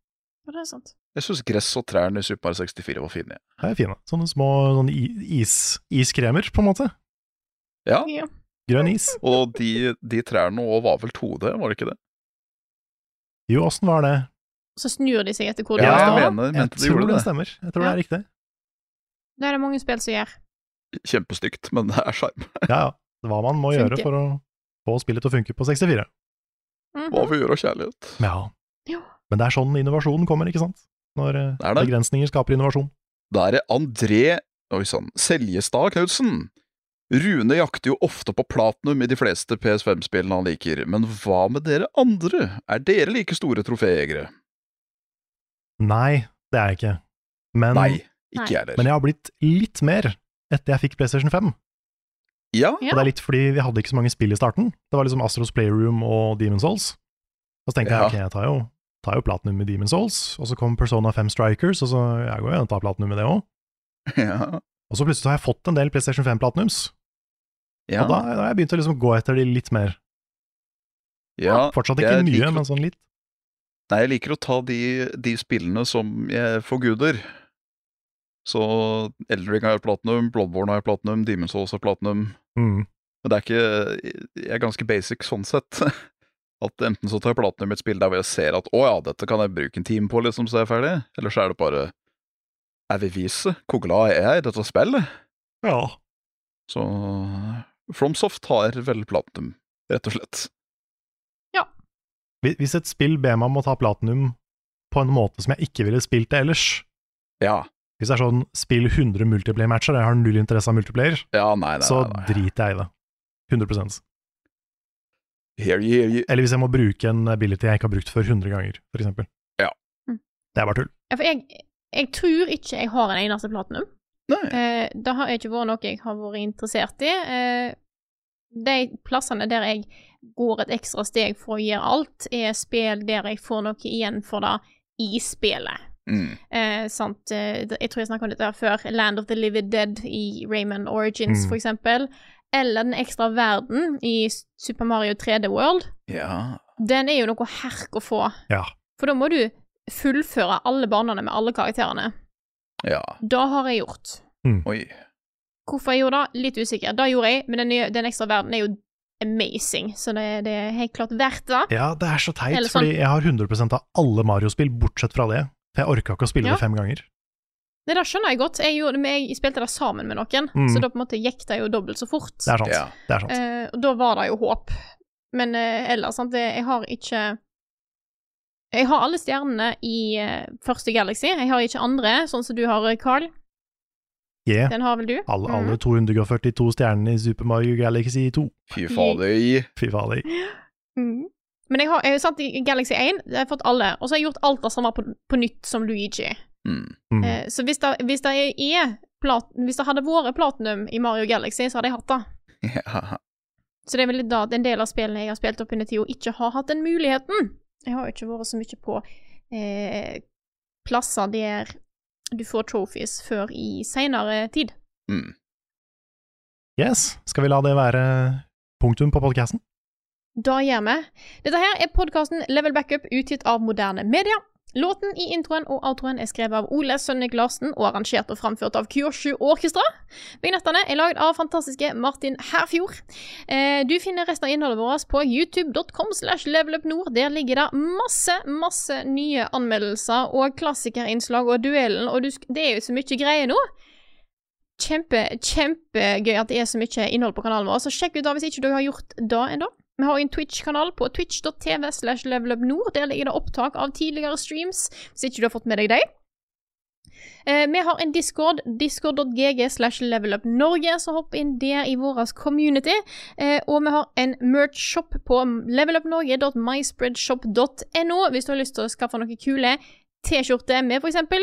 Speaker 1: Ja, det er sant.
Speaker 3: Jeg syns gress og trærne i Super Mario 64 var fine. jeg.
Speaker 2: Det er fine. Sånne små sånne i- is, iskremer, på en måte.
Speaker 3: Ja.
Speaker 1: Ja.
Speaker 2: Grønn is.
Speaker 3: Og de, de trærne òg var vel 2D, var det ikke det?
Speaker 2: Jo, åssen var det?
Speaker 1: Så snur de seg etter hvor
Speaker 3: Ja,
Speaker 1: de
Speaker 3: jeg
Speaker 1: står.
Speaker 3: mener,
Speaker 2: Jeg
Speaker 3: mente de
Speaker 2: tror
Speaker 3: gjorde
Speaker 2: det
Speaker 3: det.
Speaker 2: stemmer. Jeg tror det
Speaker 1: Ja.
Speaker 2: er riktig.
Speaker 1: Det er det mange spill som gjør.
Speaker 3: Kjempestygt, men det er sjarm.
Speaker 2: Ja, ja. Det er hva man må gjøre
Speaker 1: Funker.
Speaker 2: for å få spillet til å funke på 64.
Speaker 1: Mhm.
Speaker 3: Hva vi gjør av kjærlighet.
Speaker 2: Men Ja.
Speaker 1: Ja.
Speaker 2: Men det er sånn innovasjonen kommer, ikke sant? Når eh,
Speaker 3: Det er det.
Speaker 2: begrensninger skaper innovasjon.
Speaker 3: Da er det André Oi sann, Seljestad Knutsen. Rune jakter jo ofte på platinum i de fleste PS5-spillene han liker, men hva med dere andre? Er dere like store troféjegere?
Speaker 2: Nei, det er jeg ikke. Men,
Speaker 3: Nei, ikke
Speaker 1: Nei.
Speaker 3: jeg heller.
Speaker 2: men jeg har blitt litt mer etter jeg fikk PlayStation 5.
Speaker 3: Ja,
Speaker 1: Ja.
Speaker 2: Og det er litt fordi vi hadde ikke så mange spill i starten. Det var liksom Astros Playroom og Demon's Souls. Og så tenkte
Speaker 3: Ja.
Speaker 2: jeg ok, jeg tar jo, tar jo platinum i Demon's Souls, og så kom Persona 5 Strikers, og så jeg går jo og tar platinum i det òg.
Speaker 3: ja,
Speaker 2: Og så plutselig har jeg fått en del PlayStation 5 platinums,
Speaker 3: ja,
Speaker 2: og da, da har jeg begynt å liksom gå etter de litt mer.
Speaker 3: ja.
Speaker 2: Fortsatt ikke
Speaker 3: jeg
Speaker 2: mye,
Speaker 3: liker å-
Speaker 2: men sånn litt.
Speaker 3: Nei, jeg liker å ta de, de spillene som jeg forguder. Så Eldring har jeg platinum, Bloodborne har jeg platinum, Demon's Souls har platinum.
Speaker 2: Mm.
Speaker 3: Men det er ikke Jeg er ganske basic sånn sett. At enten så tar jeg platinum i et spill der hvor jeg ser at å ja, dette kan jeg bruke en time på, liksom, så er jeg ferdig. Eller så er det bare er vi vise? Hvor glad er jeg i dette spillet?
Speaker 2: Ja.
Speaker 3: Så Flomsoft har vel platinum, rett og slett.
Speaker 2: Hvis- Hvis et spill ber meg om å ta platinum på en måte som jeg ikke ville spilt det ellers,
Speaker 3: Ja.
Speaker 2: Hvis det er sånn spill 100 multiplayer-matcher, og jeg har null interesse av multiplayer,
Speaker 3: ja, nei, nei,
Speaker 2: så
Speaker 3: nei, nei.
Speaker 2: driter jeg i det. 100
Speaker 3: Here you, here you.
Speaker 2: Eller hvis jeg må bruke en ability jeg ikke har brukt før 100 ganger, for eksempel.
Speaker 3: Ja.
Speaker 1: Mm.
Speaker 2: Det er bare tull.
Speaker 1: Ja, for jeg, jeg tror ikke jeg har en eneste platinum.
Speaker 3: Nei.
Speaker 1: Eh, det har ikke vært noe jeg har vært interessert i. Eh, de plassene der jeg går et ekstra steg for å gjøre alt, er spill der jeg får noe igjen for det i spillet.
Speaker 3: Mm.
Speaker 1: Eh, sant? Eh, det- Jeg tror jeg snakket om dette her før. Land of the Living Dead i Rayman Origins,
Speaker 2: Mm.
Speaker 1: for eksempel. Eller Den ekstra verden i Super Mario 3D World.
Speaker 3: Ja.
Speaker 1: Den er jo noe herk å få.
Speaker 2: Ja.
Speaker 1: For da må du fullføre alle banene med alle karakterene.
Speaker 3: ja.
Speaker 1: Det har jeg gjort.
Speaker 3: Oi.
Speaker 1: Hvorfor jeg gjorde det? Litt usikker. Det gjorde jeg, men den, nye, den ekstra verden er jo amazing, så det, det er helt klart verdt det.
Speaker 2: Ja, det er så teit,
Speaker 1: Eller sånn-
Speaker 2: fordi jeg har 100 av alle Mario-spill, bortsett fra det. For jeg orka ikke å spille
Speaker 1: Ja.
Speaker 2: det fem ganger.
Speaker 1: Nei, det skjønner jeg godt. Jeg, gjorde, men jeg spilte det sammen med noen,
Speaker 2: Mm.
Speaker 1: så da på en måte gikk det jo dobbelt så fort.
Speaker 2: Det er sant.
Speaker 3: Ja.
Speaker 2: Det er sant.
Speaker 1: Eh, og da var det jo håp. Men eh, ellers, sant, det, jeg har ikke Jeg har alle stjernene i eh, første Galaxy. Jeg har ikke andre, sånn som du har, Carl.
Speaker 2: Yeah.
Speaker 1: Den har vel du?
Speaker 2: Alle,
Speaker 1: Mm.
Speaker 2: alle 242 stjernene i Super Mario Galaxy 2.
Speaker 3: Fy fader.
Speaker 2: Fy fader.
Speaker 1: Mm. Men jeg har jeg, sant, i Galaxy 1 jeg har fått alle, og så har jeg gjort alt det samme på, på nytt som Luigi.
Speaker 3: Mm.
Speaker 2: Mm.
Speaker 1: Eh, så hvis det, hvis det er plat, Hvis det hadde vært platinum i Mario Galaxy, så hadde jeg hatt det.
Speaker 3: Ja.
Speaker 1: Så det er vel litt da at en del av spillene jeg har spilt opp under tida, ikke har hatt den muligheten. Jeg har jo ikke vært så mye på eh, plasser der du får trophies før i seinere tid.
Speaker 3: Mm.
Speaker 2: Yes, skal vi la det være punktum på podkasten?
Speaker 1: Da gjør vi. Dette her er podkasten Level Backup utgitt av moderne media. Låten i introen og outroen er skrevet av Ole Sønnik Larsen og arrangert og framført av Kyoshu Orkestra. Vignettene er lagd av fantastiske Martin Herfjord. Eh, Du finner resten av innholdet vårt på youtube.com slash levelupnord. Der ligger det masse, masse nye anmeldelser og klassikerinnslag og duellen, og du, sk- det er jo så mye greier nå. Kjempe, kjempegøy at det er så mye innhold på kanalen vår, så sjekk ut da hvis ikke du har gjort det ennå. Vi har jo en Twitch-kanal på twitch.tv slash levelupnord. Der ligger det opptak av tidligere streams, hvis ikke du har fått med deg dem. Eh, vi har en Discord, discord.gg slash levelupnorge, så hopp inn der i vår community. Eh, og vi har en merch-shop på levelupnorge.myspreadshop.no hvis du har lyst til å skaffe noen kule T-skjorter med for eksempel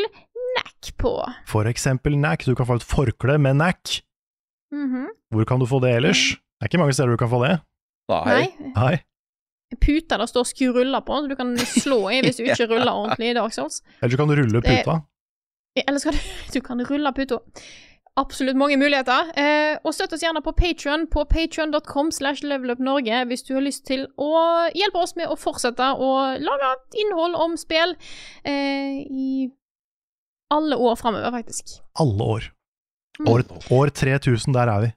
Speaker 1: NAC på.
Speaker 2: For eksempel NAC. Du kan få et forkle med NAC.
Speaker 1: Mhm.
Speaker 2: Hvor kan du få det ellers? Det er ikke mange steder du kan få det.
Speaker 3: Nei.
Speaker 1: Nei,
Speaker 2: Nei.
Speaker 1: puta det står 'sku ruller' på, så du kan slå i hvis du ikke ruller ordentlig i Dark Souls.
Speaker 2: Eller du kan rulle puta.
Speaker 1: Eller skal du, du kan rulle puta. Absolutt mange muligheter. Eh, og støtt oss gjerne på Patreon på patreon.com slash levelupnorge hvis du har lyst til å hjelpe oss med å fortsette å lage innhold om spill eh, i alle år framover, faktisk.
Speaker 2: Alle år.
Speaker 1: Mm.
Speaker 2: år. År 3000, der er vi.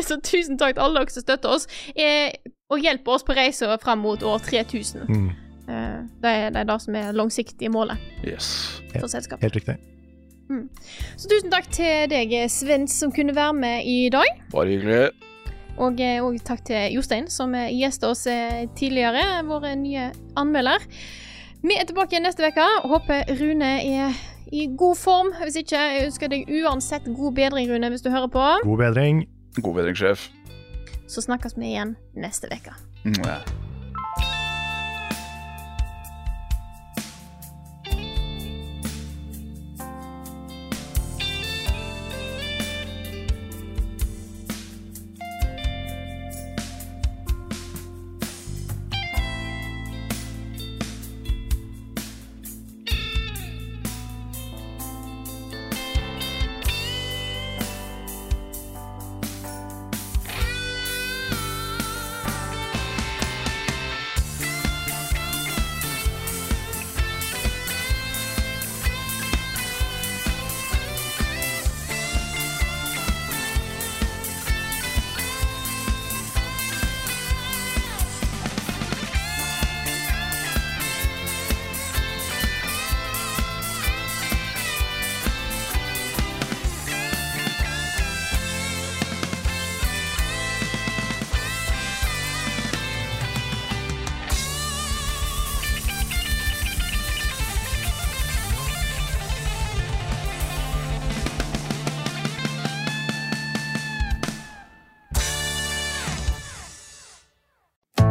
Speaker 1: Så tusen takk til alle dere som støtter oss, eh, og hjelper oss på reisa fram mot år 3000.
Speaker 2: Mm.
Speaker 1: Eh, det, er, det er det som er langsiktige målet
Speaker 3: Yes.
Speaker 2: Ja.
Speaker 1: for selskapet.
Speaker 2: Helt riktig.
Speaker 1: Så tusen takk til deg, Sven, som kunne være med i dag.
Speaker 3: Bare hyggelig.
Speaker 1: Og, eh, og takk til Jostein, som eh, gjestet oss eh, tidligere, vår eh, nye anmelder. Vi er tilbake igjen neste uke. Håper Rune er i god form. Hvis ikke, jeg ønsker deg uansett god bedring, Rune, hvis du hører på.
Speaker 2: God bedring.
Speaker 3: God bedring, sjef.
Speaker 1: Så snakkes vi igjen neste uke.
Speaker 3: Mwah.